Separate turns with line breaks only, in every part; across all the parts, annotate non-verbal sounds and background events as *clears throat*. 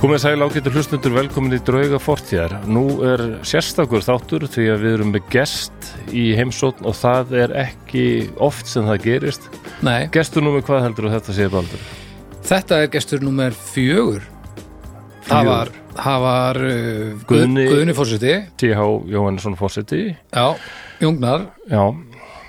Komið sæl ágættu hlustendur, velkomin í Drauga Fortíðar. Nú er sérstakur þáttur því að við erum með gest í heimsókn og það er ekki oft sem það gerist.
Nei,
Gestur nú með hvað heldur og þetta séð baldur?
þetta er gestur nummer fjögur Það var, það var uh, Guðni,
Guðni-
Guðni fórseti
T.H. Jóhannesson Fossetti,
Já, Jungnar
já,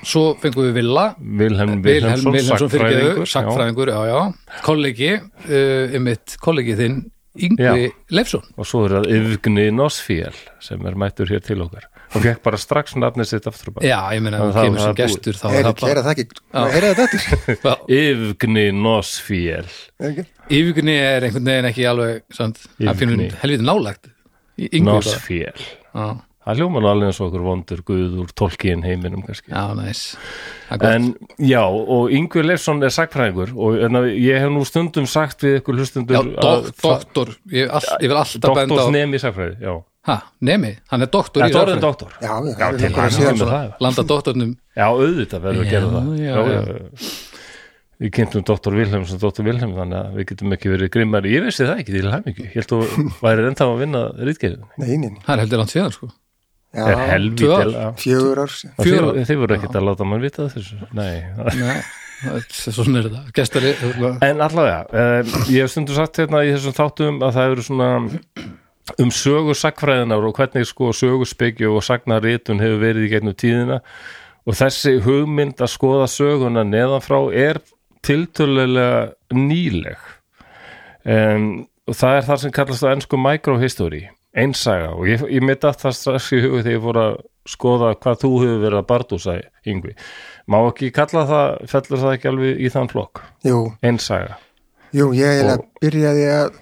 Svo fengum við Villa
Vilhelm
Vilhelm
Vilhelmsson,
Vilhelmsson fyrirgeðu,
sagnfræðingur. já,
sagnfræðingur Já, já, kollegi uh, Einmitt kollegi þinn Yngvi
Já.
Leifsson
Og svo er það Yfgni Nosfél sem er mættur hér til okkar. Og gekk bara strax nafnið sitt aftur bara.
Já, ég meina,
Það-
það
það-
kemur
það
sem
er búið.
gestur þá er
Heyri,
það bara
heyra það ekki, heyra þetta eftir
Já,
Yfgni Nosfél.
Ekki?
Yfirgunni er einhvern veginn ekki alveg sant, Það finnum
Yfirgunni.
helviti nálægt Í- Yngvi bara
Nosfél.
Já,
Það hljóman alveg eins og okkur vondur guð úr tolkiðin heiminum kannski.
já, næs Það er gott.
En já, og Yngvi Leifsson er sagfræðingur og en, að ég hef nú stundum sagt við ykkur hlustundur
Já, dok, doktor, ég, all, ég vil alltaf benda á
doktor nemi sagfræði, já.
Ha, nemi, hann er doktor
Þetta er orðin
rafræði.
doktor.
Já, já,
já
við
til
fengum að
hamingju
sé
með
hann svona.
það.
Landa doktornum
Já, auðvitað verður að
Já,
gera það.
já, já.
já. Við kynntum doktor Vilhelm sem doktor Vilhelm, þannig að við getum ekki verið grimmari. Ég vissi það ekki til hæmingi. Ég held að væri enda að vinna rítgerðinni.
Nei, nei, nei
Það er heldur langt síðan sko
Það er
Já,
helvítið.
tvö ár.
að-
Fjögur ár síðan.
Þið,
Fjögur ár.
þið voru ekkert að láta mann vita þessu. Nei,
Nei, það er- svona er þetta Gestari,
En allavega, eh, ég hef stundu sagt hérna í þessum þáttum að það eru svona um sögu sagfræðinar og hvernig sko söguspekju og sagnaritun hefur verið í gegnum tíðina og þessi hugmynd að skoða söguna neðanfrá er tiltölulega nýleg um, og það er það sem kallast á ennsku microhistory, einsaga og ég, ég mitt að það strax í hugu þegar ég fór að skoða hvað þú hefur verið að bardúsa yngvi. Má ekki kalla það, fellur það ekki alveg í þann flokk?
Jú,
Einsaga.
jú, ég eiginlega
Og-
byrjaði að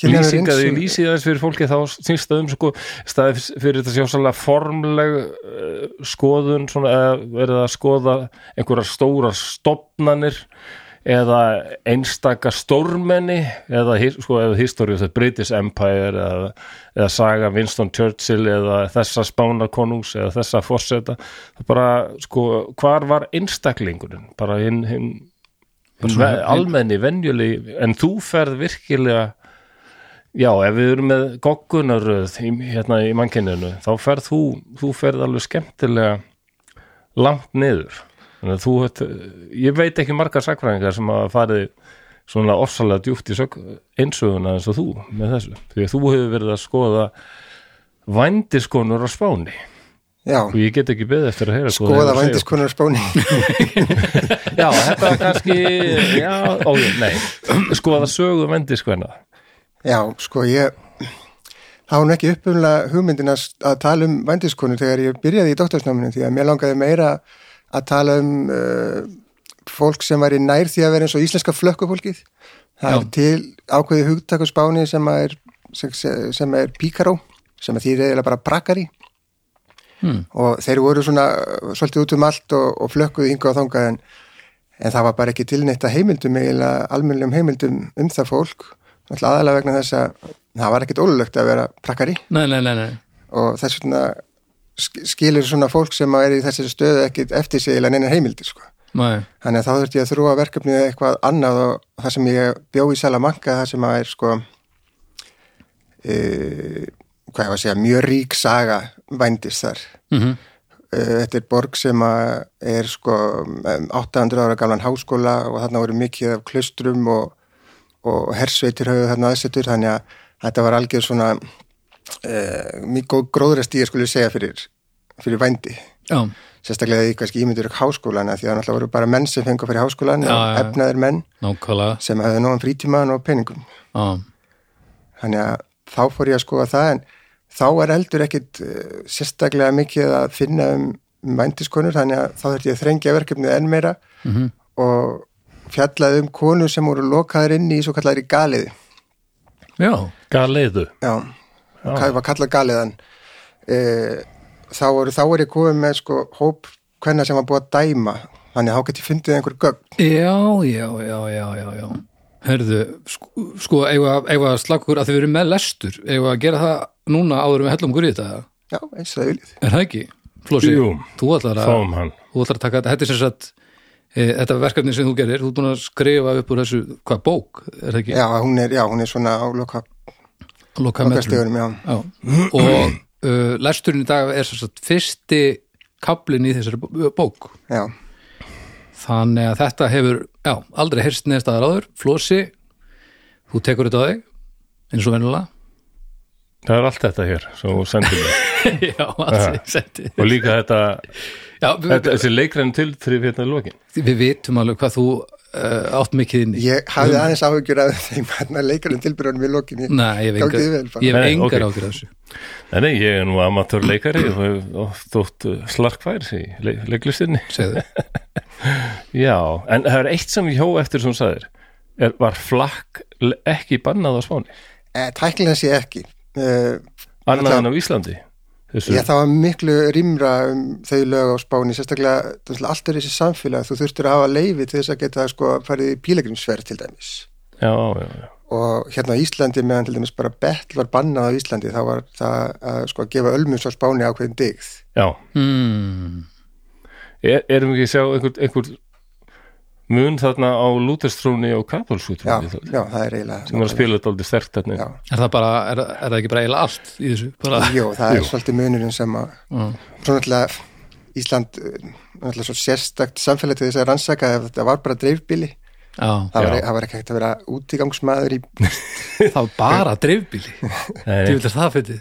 kynna mér
Lýsingaði,
eins og-
lýsið aðeins fyrir fólki þá snýst það um sko staði fyrir þetta sjásalega formleg uh, skoðun svona eða verið að skoða einhverjar stórar stopnanir eða einstaka stórmenni eða, his- sko, eða history of the British Empire eða, eða saga Winston Churchill eða þessa spánakonungs eða þessa forseta Það bara sko hvar var einstaklingurinn bara hinn hin, hin, almenni, venjulegi en þú ferð virkilega Já, ef við erum með goggunaröð í, hérna í mannkenninu, þá ferð þú, þú ferð alveg skemmtilega langt niður. Þannig að þú, ert, ég veit ekki margar sakfræðingar sem hafa farið svona ofsalega djúpt í sök, einsöguna eins og þú með þessu. Því að þú hefur verið að skoða vændiskonur á Spáni
Já,
og ég get ekki beðið eftir að heyra hvað þú hefur
skoða
að segja.
vændiskonar spáni
Já, þetta var kannski, já, ó, nei, skoða sögu um vændiskvenna.
Já, sko, ég þá hún ekki uppumlega hugmyndin að, að tala um vændiskonur þegar ég byrjaði í doktorsnáminu því að mér langaði meira að tala um uh, fólk sem væri nær því að vera eins og íslenska flökkufólkið það er til ákveði hugtak á spáni sem að er, sem, sem er píkaró sem að þýðir eiginlega bara brakari hmm. og þeir voru svona uh, svolítið út um allt og, og flökkuðu yngu á þangað en en það var bara ekki tilnætt að heimildum eiginlega almennlegum heimildum um það fólk alltaf aðalega vegna þess að það var ekkit ólulegt að vera prakkari
nei, nei, nei, nei
og þess vegna sk- skilur svona fólk sem er í þessi stöðu ekkit eftir sig eiginlega neina heimildi sko.
Nei,
þannig að þá þurfti ég að þrúa verkefnið eitthvað annað og það sem ég bjó í Salamanca það sem að er sko e, hvað ég var að segja mjög rík saga vændist þar
mm
Eh, Þetta er borg sem að er sko um, 800 ára gamlan háskóla og þarna voru mikið af klustrum og, og hersveitir höfðu þarna aðsettur þannig að þetta var algjör svona uh, mikið gróðra stíð skulle ég segja fyrir, fyrir vændi
já,
sérstaklega í kannski ímyndur háskólana því að náttúrulega voru bara menn sem fengu fyrir háskólan
Já, já,
og
já.
efnaðir menn
nákvæmlega
sem hefðu nógan frítíman og peningum
Já,
þannig að þá fór ég að skoða það en þá er eldur ekkit uh, sérstaklega mikið að finna um, um vændiskonur þannig að þá þurfti ég að þrengja verkefnið enn meira -hmm. og fjallaði um konur sem voru lokaðar inn í svo kallari galiði
já,
Galiðu.
já, hvað var kallað galiðan uh, þá voru þá er ég komið með sko hóp hvenna sem var búið að dæma þannig að þá get ég fundið einhver gögn
já, já, já, já, já, já. Herðu, sko, sko eigum við að- eigum við að slaka úr að þið verið með lestur eigum við að gera það núna áður með hellum gurið þetta
já, eins og það viljið
Er það ekki? Flósi,
Jú.
þú ætlar að
Fáum hann.
þú ætlar að taka þetta, þetta er sem sagt e, þetta verkefni sem þú gerir, þú ert búin að skrifa upp úr þessu, hvað bók, er það ekki?
já, hún er, já, hún er svona á loka
loka metrum
lokastegunum, já.
Já. og uh, lesturinn í dag er sem sagt, fyrsti kaplinn í þessari bó- bók
já.
þannig að þetta hefur já, aldrei heyrst neðst aðar áður Flósi, þú tekur þetta á þig eins og
*laughs*
venjulega
það er allt þetta hér sem þú sendir mér
já, allt í seti
og líka þetta,
já, við,
þetta þessi leikræn til þrif hérna í lokin
við vitum alveg hvað þú uh, átt mikið inn í
Ég hafði
um-
aðeins áhyggjur af þeim hérna leikarinn tilbyrjunum í lokinni.
Mm.
Nei, ég hef
Gangi þér
engar,
vel bara.
ég hef
Nei,
engar
ok.
ágjur þessu
Nei, nei, ég er nú amatörleikari og hef oft þótt slarkvær í le leiklistinni. *laughs*
segðu,
Já, en það er eitt sem ég hjó eftir sem þú sagðir, er, var flakk le- ekki bannað á Spáni,
E, Tæknilega sé ekki. Uh,
annað
Ætla-
en á Íslandi. Þessu,
ég, það var miklu rýmra um þau lög á Spáni, sérstaklega þannig, allt er þessi samfélag. Þú þurftir að hafa leifi til þess að geta sko farið í pílegrimsferð til dæmis.
Já, já, já.
Og hérna á Íslandi meðan til dæmis bara betl var bannað á Íslandi, þá var það að sko að gefa ölmus á Spáni ákveðin digð.
já.
mm,
Er, erum við ekki að sjá einhver, einhver mun þarna á Lúterstrúni og
Já,
Kapolsútrúni sem
já, það er eiginlega.
var að spila þetta aldrei sterkt þarna.
Já.
er það bara er, er það ekki bara eiginlega allt í þessu bara,
Jó, það er svolítið munurinn sem að
Mm.
svo náttúrulega Ísland eh, náttúrulega svo sérstakt samfélag til þess að rannsaka ef þetta var bara dreifbíli
já,
það var, e-
Já.
það var ekki hægt að vera útigangsmaður í
það var bara dreifbíli
Nei,
þú vildir það fyrir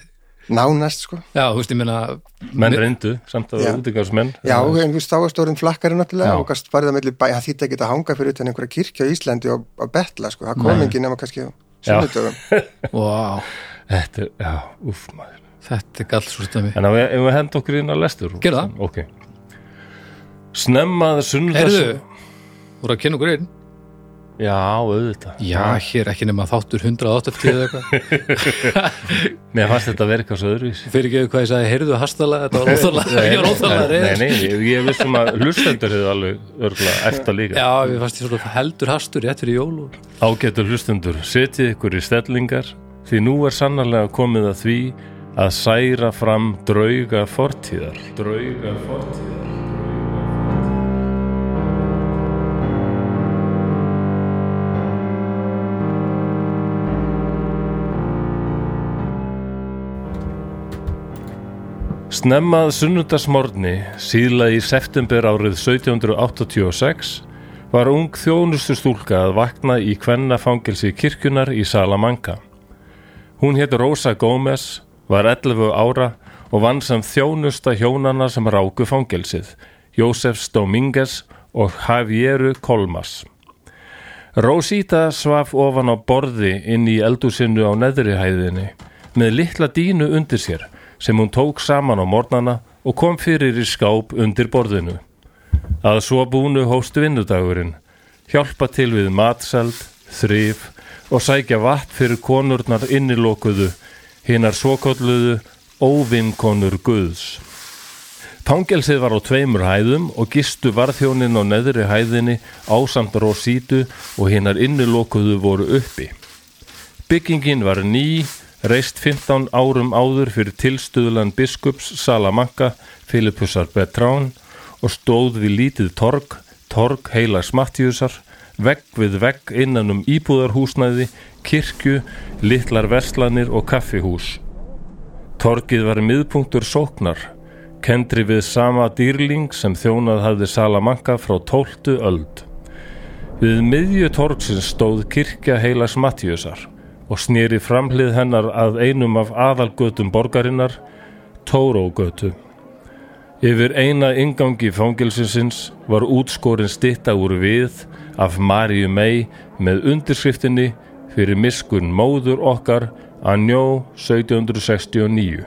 nánast sko
já, þú veist, ég meina
menn reyndu, samt að
Já.
það er útingarsmenn.
Já, en þú veist, þá var stórum flakkari náttúrulega
Já.
og gast farið að milli bæ, það þýtti ekki að hanga fyrir utan einhverja kirkja á Íslandi og að betla, sko, það kom enginn nema kannski á sunnudögum.
wow,
Þetta er, já, úf maður.
þetta er gall svo stömi
En ef við, ef við henda okkur inn að lestur
Gerðu það.
Ok Snemmaður sunnlega
heyrðu, þú voru að kynna okkur einn
Já, auðvitað
já, hér ekki nema þáttur 180 eða
*laughs*
eitthvað,
Mér fannst þetta verið eitthvað svo öðruvísi
fyrir ekki hvað ég sagði heyrðu hastala, þetta var óþálega *laughs* ég var óþálega
Nei,
reyður
nei, ég, ég vissum að hlustendur hefur alveg örgulega eftir líka
já, við fannst ég svona heldur hastur rétt fyrir jól og
Ágætu hlustendur, setjið ykkur í stellingar því nú er sannarlega komið að því að særa fram drauga fortíðar Drauga fortíðar Snemmað sunnudagsmorni síðla í september árið 1786 var ung þjónustu stúlka að vakna í kvennafangilsi kirkjunar í Salamanca. Hún hétt Rosa Gómez, var 11 ára og vann sem þjónusta hjónana sem ráku fangilsið, Jósefs Dominguez og Javieru Kolmas. Rosita svaf ofan á borði inn í eldúsinu á neðri hæðinni með litla dínu undir sér sem hún tók saman á mornana og kom fyrir í skáp undir borðinu. Að svo búnu hóst vinnudagurinn, hjálpa til við matseld, þrif og sækja vatn fyrir konurnar innilokuðu, hinnar svokolluðu óvinkonur guðs. Fangelsið var á tveimur hæðum og gistu varðhjónin á neðri hæðinni ásamt Rosítu og hinnar innilokuðu voru uppi. Byggingin var ný, reist 15 árum áður fyrir tilstuðlan biskups Salamanca, Filipusar Betrán og stóð við lítið torg, torg heilas Mattíusar, vegg við vegg innan um íbúðarhúsnæði, kirkju, litlar verslanir og kaffihús. Torgið var miðpunktur sóknar, kendri við sama dýrling sem þjónað hafði Salamanca frá 12. öld. Við miðju torgsins stóð kirkja heilas Mattíusar og snýri framhlið hennar að einum af aðalgötum borgarinnar, Tórógötu. Yfir eina ingangi fangilsinsins var útskorin stitta úr við af Maríu May með undirskriftinni fyrir miskun móður okkar að njó 1769.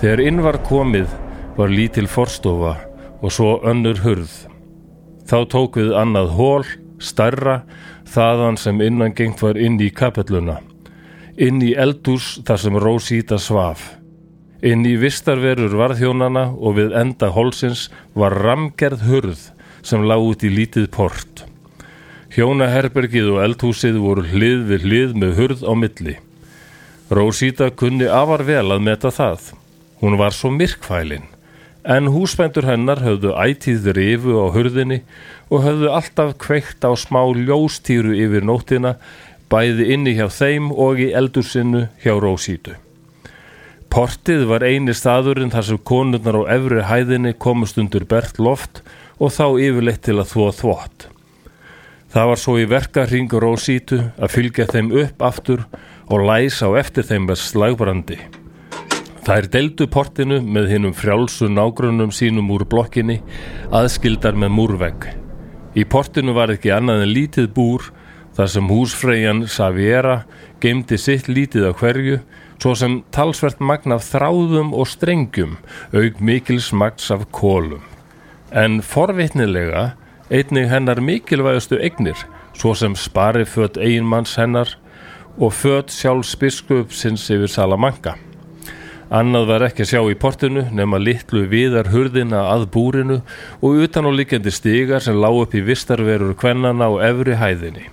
Þegar inn var komið var lítil forstofa og svo önnur hurð. Þá tók við annað hól, stærra, þaðan sem innangengt var inn í kapelluna. Inn í eldús þar sem Rósíta svaf. Inn í vistarverur varðhjónana og við enda hólsins var ramgerð hurð sem lág út í lítið port. Hjónaherbergið og eldhúsið voru hlið við hlið með hurð á milli. Rósíta kunni afar vel að meta það. Hún var svo myrkfælin, en húsbændur hennar höfðu ætíð rifu á hurðinni og höfðu alltaf kveikt á smá ljóstýru yfir nóttina bæði inni hjá þeim og í eldursinu hjá Rósítu. Portið var eini staðurinn þar sem konurnar á efri hæðinni komust undir bert loft og þá yfirleitt til að þvó þvott. Það var svo í verka hringur Rósítu að fylgja þeim upp aftur og læsa á eftir þeim með slagbrandi. Þær deildu portinu með hinnum frjálsu nágrunum sínum úr blokkinni, aðskildar með múrvegg. Í portinu var ekki annað en lítið búr, þar sem húsfreyjan Saviera geimdi sitt lítið á hverju, svo sem talsvert magn af þráðum og strengjum, auk mikils magns af kólum. En forvitnilega einnig hennar mikilvægustu eignir, svo sem spari fött eiginmanns hennar og fött sjálfs biskupsins yfir Salamanca. Annað var ekki að sjá í portinu nema litlu viðar hurðina að búrinu og utan á líkjandi stigar sem lá upp í vistarverur kvennana á efri hæðinni.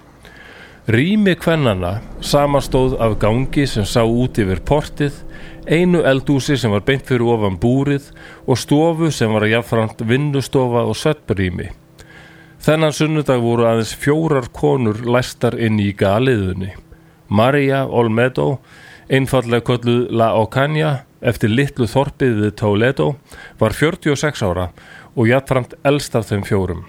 Rými kvennana samastóð af gangi sem sá út yfir portið, einu eldúsi sem var beint fyrir ofan búrið og stofu sem var jafnframt vinnustofa og söttbrými. Þennan sunnudag voru aðeins fjórar konur læstar inn í galiðunni. Maria Olmedo, einfallega kölluð La Ocaña, eftir litlu þorpið við Toledo, var 46 ára og jafnframt elst af þeim fjórum.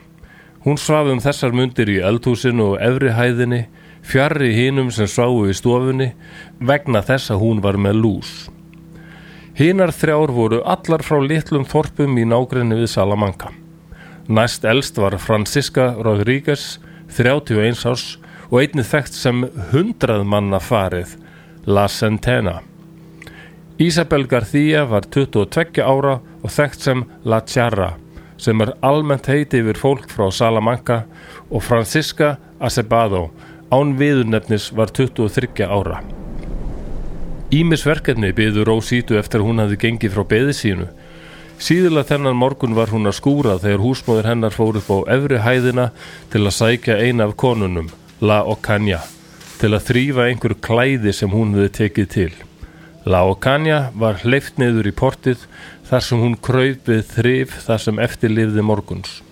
Hún svaf um þessar mundir í eldhúsinu og efri hæðinni, fjarrri hinum sem sváu í stofunni, vegna þess að hún var með lús. Hinar þrjár voru allar frá litlum þorpum í nágrinni við Salamanca. Næst elst var Francisca Rodríguez, 31 árs og einnið þekkt sem hundrað manna farið, La Centena. Isabel García var 22 ára og þekkt sem La Charra, sem er almennt heiti yfir fólk frá Salamanca og Francisca Acebado, án viðurnefnis var 23 ára. Ímisverkefni byður Rósítu eftir að hún hafði gengið frá beði sínu, Síðilega þennan morgun var hún að skúra þegar húsmóður hennar fór upp á efri hæðina til að sækja eina af konunum, La Ocaña, til að þrýfa einhver klæði sem hún hefði tekið til. La Ocaña var hleyft niður í portið þar sem hún kraup við þrif þar sem eftirlifði morguns.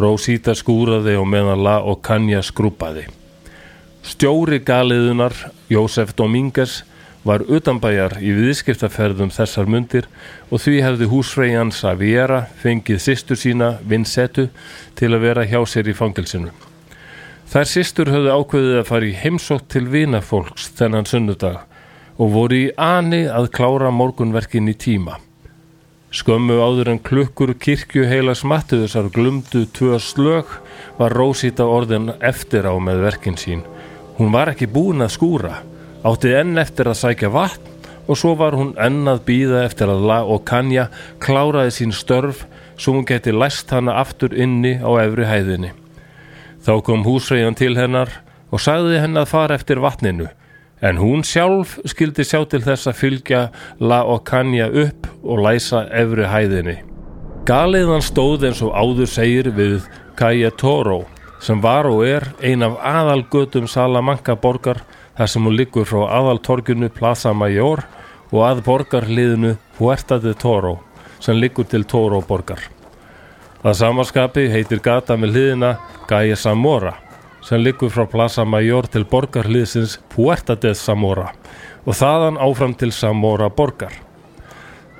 Rósíta skúraði og meðan La Ocaña skrúpaði. Stjóri galiðunar, Jósef Domingas, var utanbæjar í viðskiptaferðum þessar mundir og því hefði húsfreyjan Saviera fengið sýstur sína, Vinsetu, til að vera hjá sér í fangilsinu. Þær sýstur höfðu ákveðið að fara í heimsótt til vinafólks þennan sunnudag og voru í ani að klára morgunverkin í tíma. Skömmu áður en klukkur kirkju heila smattu þessar glumdu tvö slög var Rósita orðin eftir á með verkin sín. Hún var ekki búin að skúra átti enn eftir að sækja vatn og svo var hún enn að býða eftir að La og Kanja kláraði sín störf svo hún geti læst hana aftur inni á efri hæðinni. Þá kom húsreiðan til hennar og sagði henn að fara eftir vatninu en hún sjálf skildi sjá til þess að fylgja La og Kanja upp og læsa efri hæðinni. Galiðan stóð eins og áður segir við Kaja Toro sem var og er ein af aðalgötum Salamanca borgar þar sem hún liggur frá aðaltorginu Plaza Mayor og að borgarliðinu Huerta de Toro sem liggur til Toro borgar. Það samarskapi heitir gata með liðina Gaia Zamora sem liggur frá Plaza Mayor til borgarliðsins Huerta de Zamora og þaðan áfram til Zamora borgar.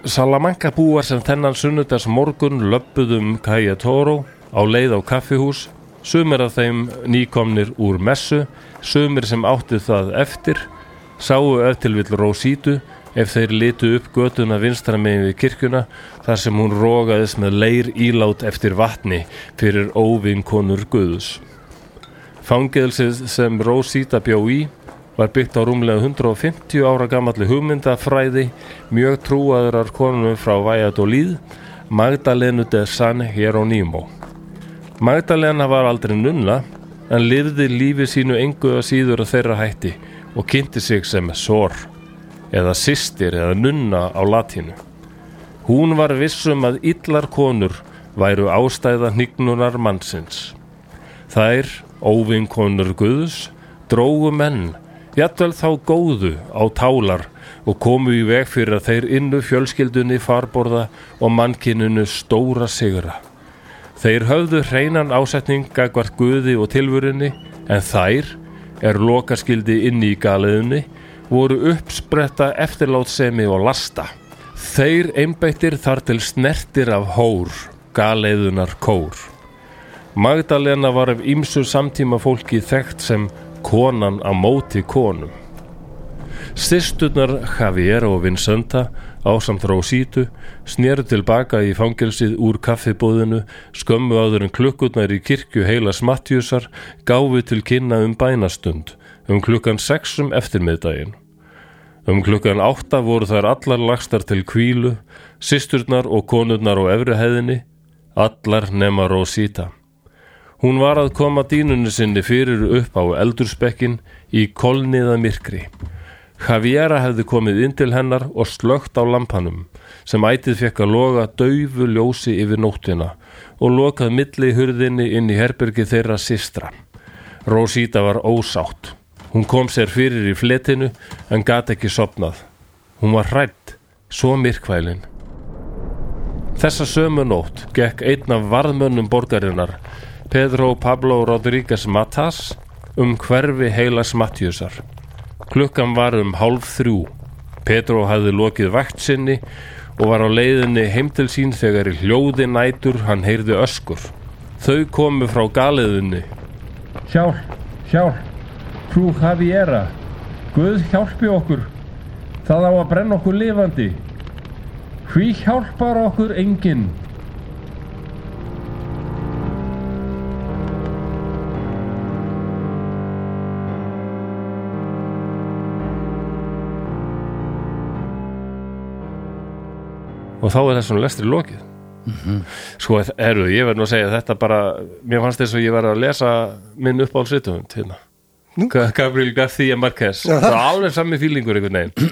Salamanca búar sem þennan sunnudags morgun löppuðum Gaia Toro á leið á kaffihús Sumir af þeim nýkomnir úr messu, sumir sem átti það eftir, sáu öftilvill Rósítu ef þeir litu upp götuna vinstra megin við kirkuna þar sem hún rógaðis með leir ílát eftir vatni fyrir óvinkonur Guðus. Fangelsið sem Rósíta bjó í var byggt á rúmlega 150 ára gamalli hugmyndafræði, mjög trúaðurar konunum frá Vajadolíð, Magdalenu de San Jerónimo. Magdalena var aldrei nunna en lifði lífi sínu engu að síður að þeirra hætti og kynnti sig sem sor eða sýstir eða nunna á latínu. Hún var vissum að illar konur væru ástæða hnygnunar mannsins. Þær, óvinkonur Guðs, drógu menn, jættvel þá góðu á tálar og komu í veg fyrir að þeir innu fjölskyldunni farborða og mannkinunu stóra sigra. Þeir höfðu hreinan ásetning gagvart Guði og tilvörinni en þær, er lokaskildi inni í galiðinni voru uppspretta eftirlátsemi og lasta. Þeir einbeittir þar til snertir af hór, galiðunar kór. Magdalena var af ýmsu samtíma fólki þekkt sem konan á móti konum. Sisturnar Javier og Vincenta ásamt Rósítu sneru tilbaka í fangelsið úr kaffibóðinu, skömmu áður en klukkurnar í kirkju heilas Matjúsar gáfu til kynna um bænastund, um klukkan sexum eftirmiðdaginn. Um klukkan átta voru þær allar lagstar til kvílu, sisturnar og konurnar á efri hefðinni, allar nema Rósíta. Hún var að koma dínunni sinni fyrir upp á eldurspekkin í kolniða myrkri. Javiera hefði komið inn til hennar og slögt á lampanum sem ætið fekk að loga daufu ljósi yfir nóttina og lokað milli hurðinni inn í herbergi þeirra systra. Rosita var ósátt. Hún kom sér fyrir í fletinu en gat ekki sopnað. Hún var hrætt, svo myrkvælin. Þessa sömu nótt gekk einn af varðmönnum borgarinnar, Pedro Pablo Rodríguez Matas, um hverfi heilas Matjúsar. Klukkan var um hálf þrjú. Petró hafði lokið vakt sinni og var á leiðinni heim til sín þegar í hljóði nætur hann heyrði öskur. Þau komu frá galiðinni. Hjálp, hjálp, frú Javiera, Guð hjálpi okkur. Það á að brenna okkur lifandi. Hví hjálpar okkur enginn? og þá er þessum lestri lokið sko, herru, ég verð nú að segja þetta bara, mér fannst þess að ég verð að lesa minn uppáhaldsrithöfund hérna Ga- Gabriel García Marquez
Já.
það er alveg sami fílingur einhvern veginn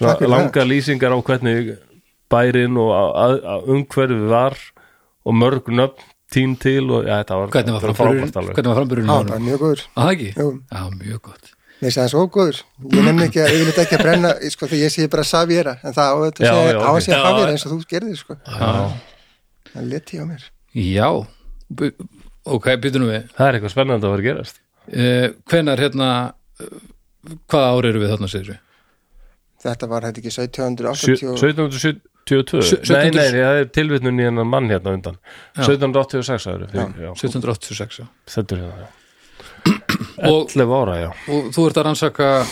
Svona
Takk fyrir
langa lýsingar á hvernig bærin og að- að- að umhverfi var og mörg nöfn tím til og já, þetta var,
Hvernig var
þetta
framburðurinn?
frábært alveg
Hvernig var framburðurinn?
Já,
á
það var
honum?
mjög góður.
Að það ekki?
Jú.
Já, mjög gott.
Mér sé það svo góður. Ég nenni ekki að, yfirleitt ekki að brenna, sko, því ég sé bara Saviera, en það á þetta
Já,
að
já,
segja, á að
ok.
segja
Já,
Javiera
já.
eins og þú gerðir, sko.
Já.
Það leti á mér.
Já, Bu- ok, býtum við.
það er eitthvað spennandi að vera að gerast
Uh, hvenar, hérna, uh, hvaða ári eru við þarna, segir við?
Þetta var, þetta ekki,
Sjö-
1780
1772
Sjö-
nei,
1700
nei, það er tilvitnun í hennan mann hérna undan 1786 ári já,
1786, já.
stendur hérna já.
Og,
11 ára, já
og þú ert að rannsaka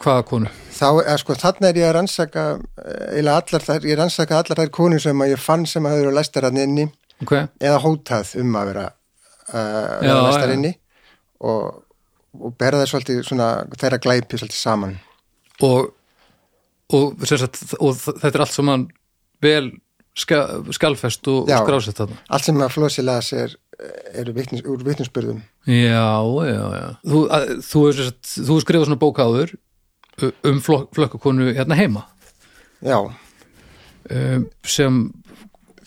hvaða konu?
þá, eða, sko, þannig er ég að rannsaka eh, eiginlega allar þær, ég rannsaka allar þær konur sem að ég fann sem að þau eru læstar hann inni
Ok,
eða hótað um að vera uh,
Já,
læstar
já.
inni og, og berða þær svolítið svona, þeirra glæpi svolítið saman
og, og, sem sagt, og þ- þetta er allt saman vel ska, skalfest og, og
Já.
skrásett þarna.
allt sem að Flósi las er, er vitnis, úr vitnusbyrðum
Já, já, já. Þú, að, þú, hefur sem sagt, þú hefur skrifað svona bók áður uh, um flokk, flokkakonu hérna heima
já,
um, sem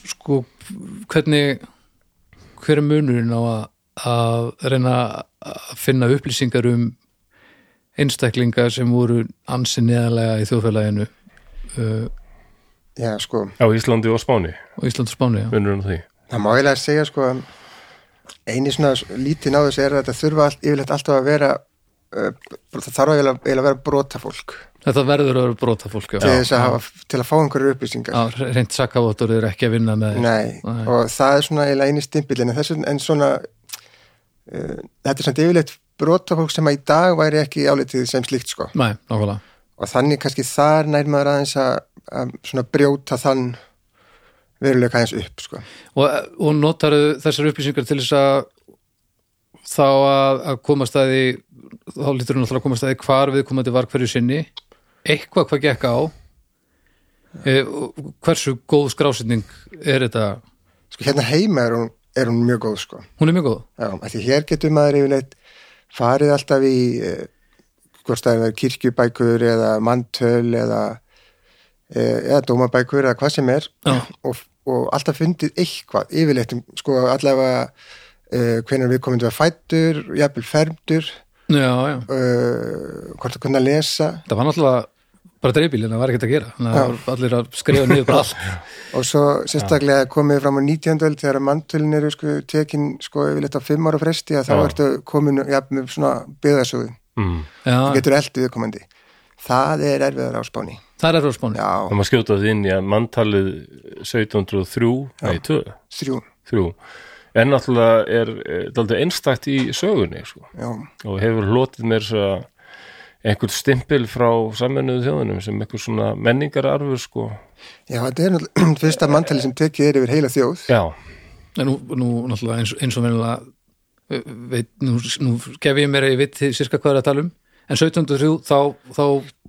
sko hvernig hver er munurinn á að, að reyna að finna upplýsingar um einstaklinga sem voru ansi neðalega í þjóðfélaginu uh,
já, sko
á Íslandi og Spáni,
á Ísland og Spáni já.
munurinn á því
það má eiginlega segja sko að eini svona lítið náðu þessu er að þetta þurfa all, yfirleitt alltaf að vera uh, það þarf eiginlega eiginlega að vera brotafólk
Þetta verður að vera brota fólk já.
til þess að hafa, til að fá einhverju upplýsingar
Já, reynt sakkavottur er ekki að vinna með
Nei, og það er svona eiginlega eini stimpillin en, þessu, en svona uh, þetta er svona yfirleitt brotafólk sem að í dag væri ekki álitið sem slíkt sko
Nei, nákvæmlega
og þannig kannski þar nær maður aðeins að, að svona brjóta þann veruleika aðeins upp sko
og, og notarðu þessar upplýsingar til þess að þá að, að komast að því þá lítur hún alltaf að komast að því hvar viðkomandi var hverju sinni eitthvað hvað gekk á e, og hversu góð skrásetning er þetta
sko hérna heima er hún, er hún mjög góð sko
hún er mjög góð
Já, af því hér getur maður yfirleitt farið alltaf í eh, hvort það er kirkjubækur eða manntöl eða, eh, eða dómabækur eða hvað sem er
Já.
og, og alltaf fundið eitthvað yfirleitt um, sko allavega uh, hvenær við komum til að fættur, jafnvel fermdur
já, já.
uh, hvort að kunna lesa
það var náttúrulega bara dreifbílina, það var ekkert að gera þannig að það voru allir að skrifa niður bara allt
og svo sérstaklega komið fram á 19. öld þegar mantölin eru sko tekin sko yfirleitt á 5 ára fresti að þá
Já.
ertu komin ja, með svona byðasöðu
mm.
þú
já,
getur eldi viðkomandi það er erfiðar á spáni
það er erfið á spáni
Það
já,
maður skjóta því inn í að manntalið 1703, nei, 2,
þrjú
3 en náttúrulega er, er daldið einstakt í sögunni sko.
já,
og hefur hlotið mér svo einhvern stimpil frá saminuðu þjóðunum sem einhver svona menningararfur sko.
já þetta er náttúrulega *clears throat* fyrsta mantali sem tekið er yfir heila þjóð
Já,
en nú, nú náttúrulega eins, eins og venjulega ö, veit, nú, nú gef ég mér að ég veit til sirka hvað er að tala um en 1703 þá, þá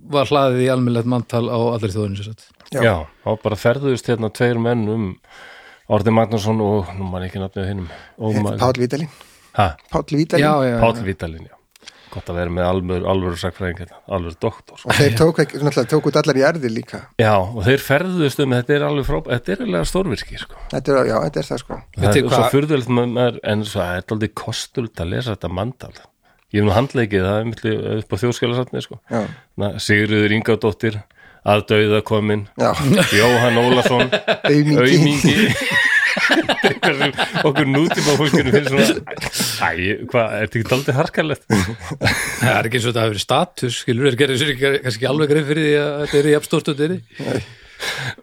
var hlaðið í almennlegt manntal á allir þjóðinu sér satt
Já.
já, þá bara ferðuðust hérna tveir menn um Orði Magnússon og, nú man ég ekki nafnið á hinnum Ómar,
Páll Vítalin
ha,
Páll Vítalin
já, já,
Páll Vítalin, já Gott að vera með alvöru, alvöru sakfræðing hérna, alvöru doktor
og þeir tók, ekki, náttúrulega tók út allar jarðir líka
Já, og þeir ferðuðust um, þetta er alveg frábæð, þetta er alveg stórvirki, sko
þetta er, já, þetta er það sko
Það
Veitir
er svo
hvað-
furðulegt með maður, en svo það er aldrei kostult að lesa þetta mandal Ég er nú handleikið, það er myndli upp á þjóðskjálasafni, sko
já,
Na, Sigurður Ingadóttir, að dauða komin
já,
Jóhann Ólason
aumingi
aumingi *laughs* Eitthvað sem okkur nútíma fólkinu finnst svona æ, hvað, er þetta ekki daldið harkarlegt
það er ekki eins og þetta hafi verið status skilur, er gerðið sér ekki, kannski ekki alveg greið fyrir því að þetta er í abstórt og þetta er í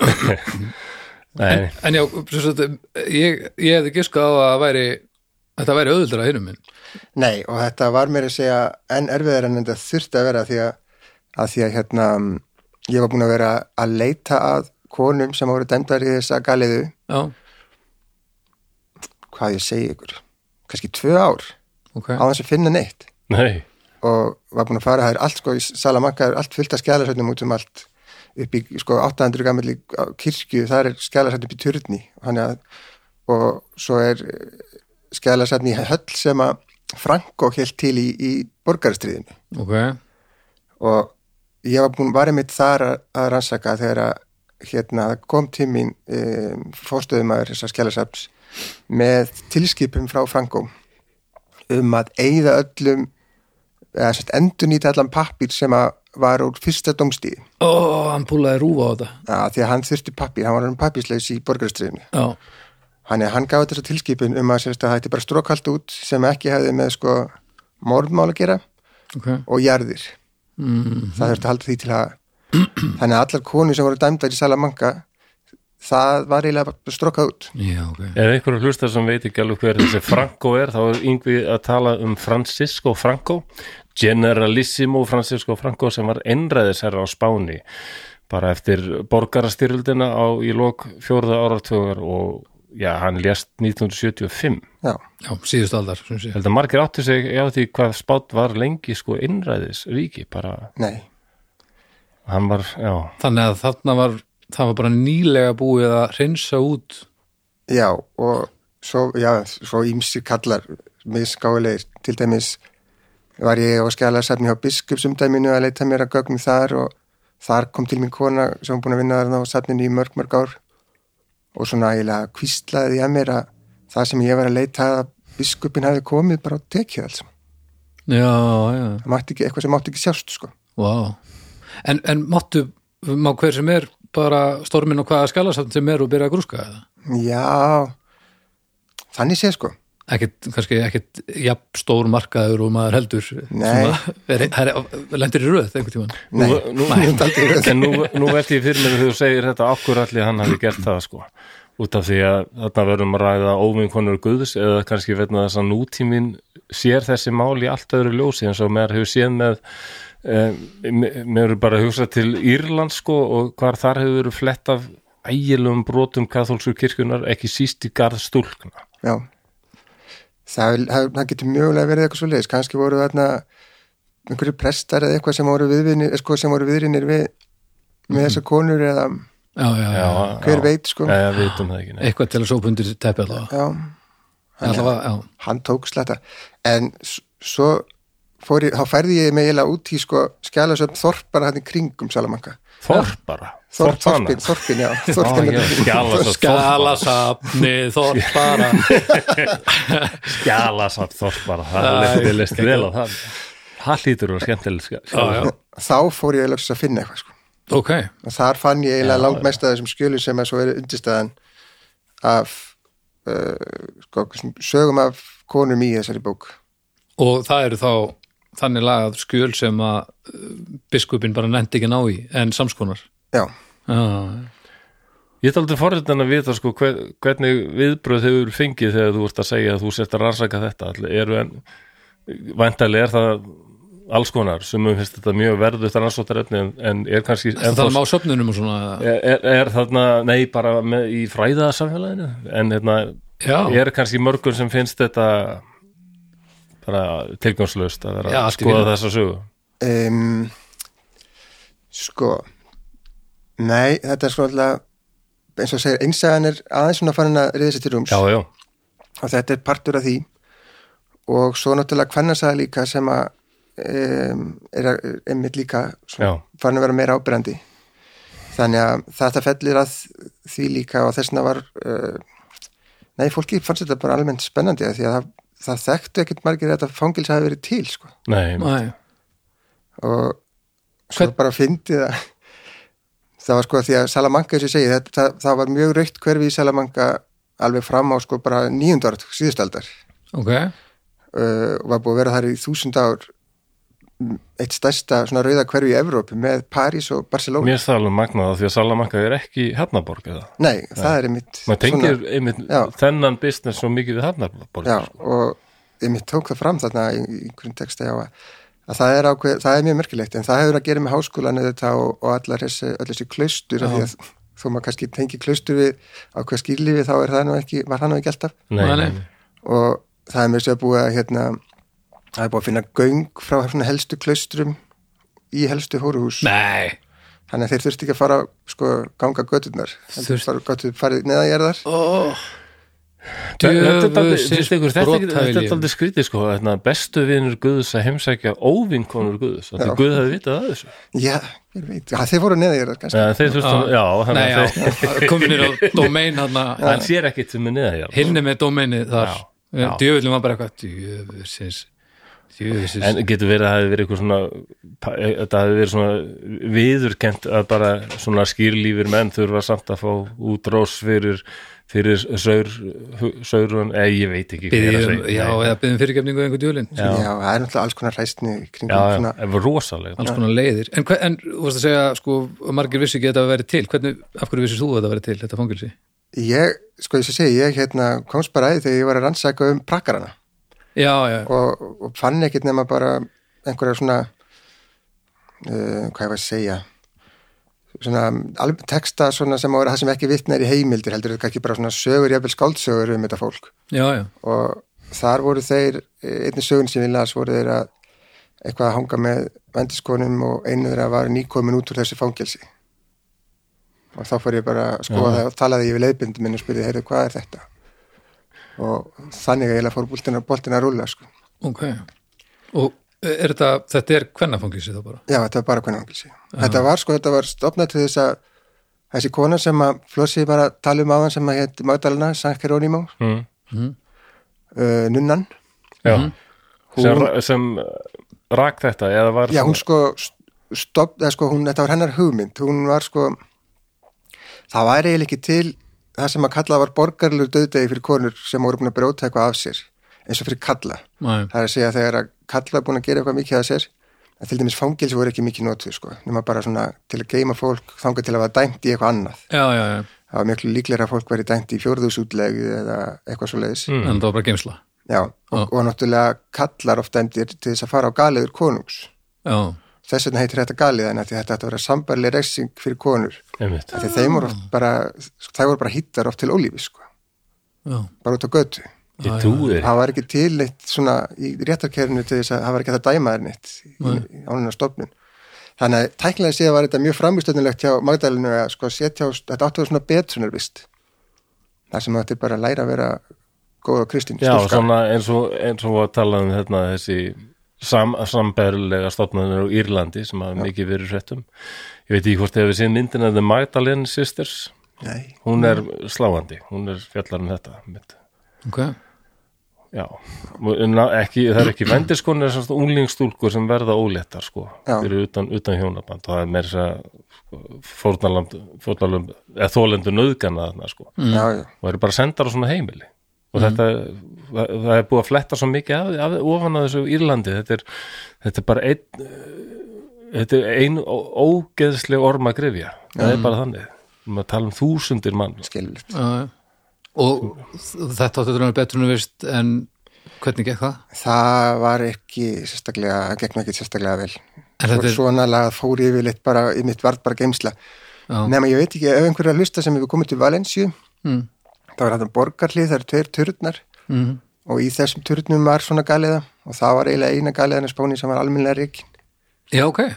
nei,
En já, sem sagt, ég, ég hefði giskað á að það væri, þetta væri auðvöldar að hinum minn.
Nei, og þetta var mér að segja enn erfiðar en þetta þurfti að vera því að, að því að hérna mm, ég var búin að vera að leita að konum sem voru dæmdar í þessa galiðu
Já,
hvað ég segi ykkur, kannski tvö ár
ok.
á þess að finna neitt
nei,
og var búin að fara það er allt sko í Salamanca er allt fullt af skjælarsöndum út um allt upp í sko 800 gamli kirkju þar er skjælarsönd upp í turni og hann að og svo er skjælarsönd í höll sem að Franko held til í, í borgarstríðinu
Ok,
og ég var búin varðið mitt þar að, að rannsaka þegar að hérna kom til mín um, fórstöðumæður þessar skjálasaps með tilskipum frá Frankó um að eigða öllum eða sérst endur nýta allan pappir sem að var úr fyrsta domstíð
ó, hann púlaði rúfa á þetta.
að því að hann þurfti pappir, hann var hann pappirslaus í borgarstriðinu
Já,
hann, hann gaf þessa tilskipun um að sérst að það hætti bara strókalt út sem ekki hefði með sko morðmál að gera
ok.
og jarðir mm. það þurfti að halda því til að þannig að allar konur sem voru dæmdar í Salamanca það var eiginlega bara strokkað út
Já, ok.
ef einhverju hlustar sem veit ekki alveg hver þessi Franco er, þá er yngvi að tala um Francisco Franco Generalissimo Francisco Franco sem var einræðisherra á Spáni bara eftir borgarastyrjöldina á í lok fjórða áratögar og já, hann lést 1975
já,
Já, síðust aldar, sem sé.
Ég held að margir áttu sig á því hvað spátt var lengi sko innræðis ríki bara,
nei,
hann var, já
Þannig að þarna var, það var bara nýlega búið að reynsa út.
já og svo, já, svo ímsi kallar misgáleir, til dæmis var ég á skjálarsafni hjá biskupsumdæminu að leita mér að gögnum þar og þar kom til mín kona sem var búin að vinna þarna á safninu í mörg mörg ár og svona eiginlega kvíslaði ég að mér að það sem ég var að leita að biskupin hafi komið bara á tekið alls
Já, já,
það mátti ekki, eitthvað sem mátti ekki sjást sko.
vá. En, en máttu, má hver sem er bara stormin og hvaða skjálasamt sem er og byrja að grúska eða?
já þannig sé sko
ekkit, kannski ekkit jafn stór markaður og maður heldur
Nei.
Svona, er, er, er, lendir í röð einhvern tímann
Nú, nú, en nú, nú velti ég fyrir mér þegar þú segir þetta akkur allir hann hafi gert það sko út af því að þarna verðum að ræða óvinkonur guðs eða kannski vegna þess að nútímin sér þessi mál í allt öðru ljósi eins og meðar hefur séð með eh, me- mér eru bara að hugsa til Írland sko og hvar þar hefur verið flett af ægilegum brotum katholskur kirkjunar ekki síst í garð stúlkna
já það, það, það getur mjögulega verið eitthvað svo leiðis kannski voru þarna einhverju prestar eða eitthvað sem voru viðvinir sko, sem voru viðrinir við með þessar konur eða
já, já, já.
hver veit sko
Nei, við vitum það ekki, nei.
eitthvað til að sópa undir teppi allavega
já,
allavega, já,
hann tók sletta en s- svo fór ég, þá færði ég mig eiginlega út í sko skjálasöfn þorpar hann í kringum Salamanca
Þorp bara
Þorp,
Þorpana.
þorpin, þorpin, *laughs* já
Ó,
þorpin,
já, Skjalasafn Þorpana.
*laughs*
skalasafni þorpara
Skjalasafn Þorpana Það er list vel á það Það hlýtur og skemmtileg skjala
já, já.
þá fór ég eiginlega að finna eitthvað sko
ok,
og þar fann ég eiginlega
Já,
langmest að þessum skjölu sem að svo er undirstaðan af uh, sko, sem sögum af konum í þessari bók
og það eru þá þannig lagað skjöl sem að uh, biskupin bara nefndi ekki að ná í en samskonar
já,
já,
Ég er aldrei forritin að vita sko, hver, hvernig viðbröð hefur fengið þegar þú ert að segja að þú sért að rannsaka þetta Ætli eru en væntalega er það alls konar sem finnst þetta mjög verðut rannsóttarefni en, en er kannski en
það er má söfnunum og svona
er, er þarna, nei bara með, í fræðasamfélaginu en hérna,
Já.
er kannski mörgur sem finnst þetta bara tilgangslöst að vera
Já,
að
allt í
skoða
fínu.
þessa sögu
um, sko nei, þetta er sko alltaf eins og segir, einsagan er aðeins svona farin að reyða sér til rúms
Já, já,
og þetta er partur af því og svo náttúrulega kvennasaga líka sem að um, er að- einmitt líka
já,
farin að vera meira ábyrjandi þannig að þetta fellir að því líka og þessna var uh, nei, fólki fannst þetta bara almennt spennandi af því að það, það þekktu ekkert margir að þetta fangils hafi verið til sko.
nei,
Nei,
og svo
Hvern-
bara fyndi það það var sko því að Salamanca eins og ég segi, þetta, það, það var mjög raukt hverfi í Salamanca alveg fram á sko bara níundar síðustaldar
ok,
uh, og var búið að vera þar í þúsund ár m, eitt stærsta svona rauða hverfi í Evrópu með París og Barcelona
mér stælum magnaða því að Salamanca er ekki hefnaborg eða
Nei, það er einmitt
maður
svona-
tengir einmitt
Já.
þennan business svo mikið við hefnaborg
Já, og ég mitt tók það fram þarna í í einhverjum texta já að, að það, er ákveð, það er mjög merkilegt en það hefur að gera með háskólan þetta og, og allar þessi, öll þessi klaustur af því að þó maður kannski tengi klaustur við ákveð skýrlífi þá er það nú ekki, var það nú ekki alltaf
nei,
Nei,
nei,
nei.
nei.
og það er mér sér búið að hérna, það er búið að finna göng frá svona helstu klaustrum í helstu hóruhús
nei
þannig að þeir þurfti ekki að fara sko ganga götturnar
Þurft-
þurfti bara göttur farið neðanjarðar
oh.
Þetta er dálítið- finnst ykkur þetta ekki- þetta er
brothæli
aldrei skrítið sko þarna, bestu vinur Guðs að heimsækja óvinkonur Guðs Þetta
Já.
Guð hefði vitað að þessu
já, ég veit, já, þeir voru neðanjarðar kannski
Nei, Þeir þurftum, já,
Ah. Nei,
þannig
já,
að þeir
kominir á domain hann
hann sér ekkit sem er neða
hinni með domainið þar
Já, já.
djöfullin var bara eitthvað djöfusins djöfusins
En getur verið að það hefði verið eitthvað svona pa- e- þetta hefði verið svona viðurkent að bara svona skýrlífir menn þurfa samt að fá út rós fyrir, fyrir saur, saurun, eða ég veit ekki hvað ég er að
byggjum,
segja.
já, eða byggjum fyrirgefningu einhver djöfullin,
Já.
Já, það er náttúrulega alls konar hræstni kring
Já, já,
svona,
það var rosalega
alls konar leiðir en, hva, en þú varst að segja, sko, að margir vissu ekki að þetta að vera til, hvernig, af hverju vissir þú að þetta að vera til þetta fangilsi?
Ég, sko ég sé segi, ég hérna komst bara að því þegar ég var að rannsaka um prakkarana
Já, já,
og, og fann ekkert nema bara einhverja svona uh, hvað ég var að segja svona alveg texta svona sem á að vera það sem ekki vitna er í heimildir heldur þetta kannski bara svona sögur, jafnvel skáldsögur um þetta fólk
já, já,
og þar voru þeir, e, einni sögun sem ég las voru þeir að eitthvað að hanga með vendiskonum og einu þeirra var nýkomin út úr þessu fangelsi og þá fór ég bara að skoða það og talaði ég við leiðbindi minn og spurði, heyrðu, hvað er þetta? og þannig að ég fór boltin að, boltin að rúla sko.
ok og er þetta, þetta er hvernafangilsi þá bara?
já, þetta var bara hvernig fangelsi þetta var sko, þetta var stopnað til þess að þessi kona sem að flossi bara að tala um áðan sem að hétt Magdalena, San Geronimo
mm.
uh, nunnan
Já, sem,
Mhm. Hún-
sem eh, rak þetta eða var
Já, hún sko stopp, eða sko hún, þetta var hennar hugmynd hún var sko það væri eiginlega ekki til það sem að kalla var borgarlur döðdegi fyrir konur sem voru búin að brjóta eitthvað af sér eins og fyrir kalla,
Nei,
það er að segja þegar að kalla er búin að gera eitthvað mikið af sér að til dæmis fangilsi voru ekki mikið notuð sko nema bara svona til að geima fólk þangað til að vera dæmt í eitthvað annað
já, já, já,
það var miklu líklega að fólk veri dæmt í fjórðusútlegu eða eitthvað svo leiðis
en það var bara geimsla
Já, og,
Mm. Já.
og náttúrulega kallar oft dæmdir til þess að fara á galiður konungs
já,
þess vegna heitir þetta galiðan af því þetta ætti að vera sambarli reksing fyrir konur
Einmitt.
af því þeim voru oft bara það voru bara hittar oft til ólífi sko
já,
bara út á götu,
Ég trúi þér
það var ekki til neitt svona í réttarkerinu til þess að það var ekki hægt að dæma þær neitt í- í ánuna stofnun þannig að tæknilega séð var þetta mjög framvistöndilegt hjá Magdalinu að sko setja á, þetta áttu að vera svona betrunarvist þar sem þetta er bara að læra að vera góð og kristin
Já,
stúlka.
svona eins og, eins og að tala um þetta, þessi sam, sambærilega stofnanir á Írlandi sem hafa mikið verið hrettum Ég veit ekki hvort hefur séð myndina The Magdalene Sisters
Nei, Mm.
hún er sláandi, hún er fjallar um þetta mitt.
ok
Já, en ekki, það er ekki vendiskonur þessast unglingstúlkur sem verða óléttar sko,
Já.
fyrir utan, utan hjónaband og það er meira þess að sko, fórnalamb, fórnalamb, eða þólendu nöðgana þarna sko,
já, já,
og eru bara sendar á svona heimili og þetta, það, það er búið að fletta svo mikið af, af, ofan að þessu Írlandi þetta er, þetta er bara einn eh, þetta er ein ó- ógeðsleg orma grifja, það er bara þannig maður tala um þúsundir mann
skilvilt.
Já, já. og þetta áttu að vera betur en þú veist en hvernig gekk það?
Það var ekki sérstaklega, gegn ekki sérstaklega vel.
En þetta
Svo,
er-
svona lagað fór yfirleitt bara, í mitt varð bara geimsla.
Já.
Nefna, ég veit ekki, ef einhverja hlusta sem hefur komið til Valensíu,
Hmm,
mm. þá var þetta borgarlið, það eru tveir turnar mm. og í þessum turnum var svona galiða og það var eiginlega eina galiðan að spáni sem var almennlega reikin.
Já, ok,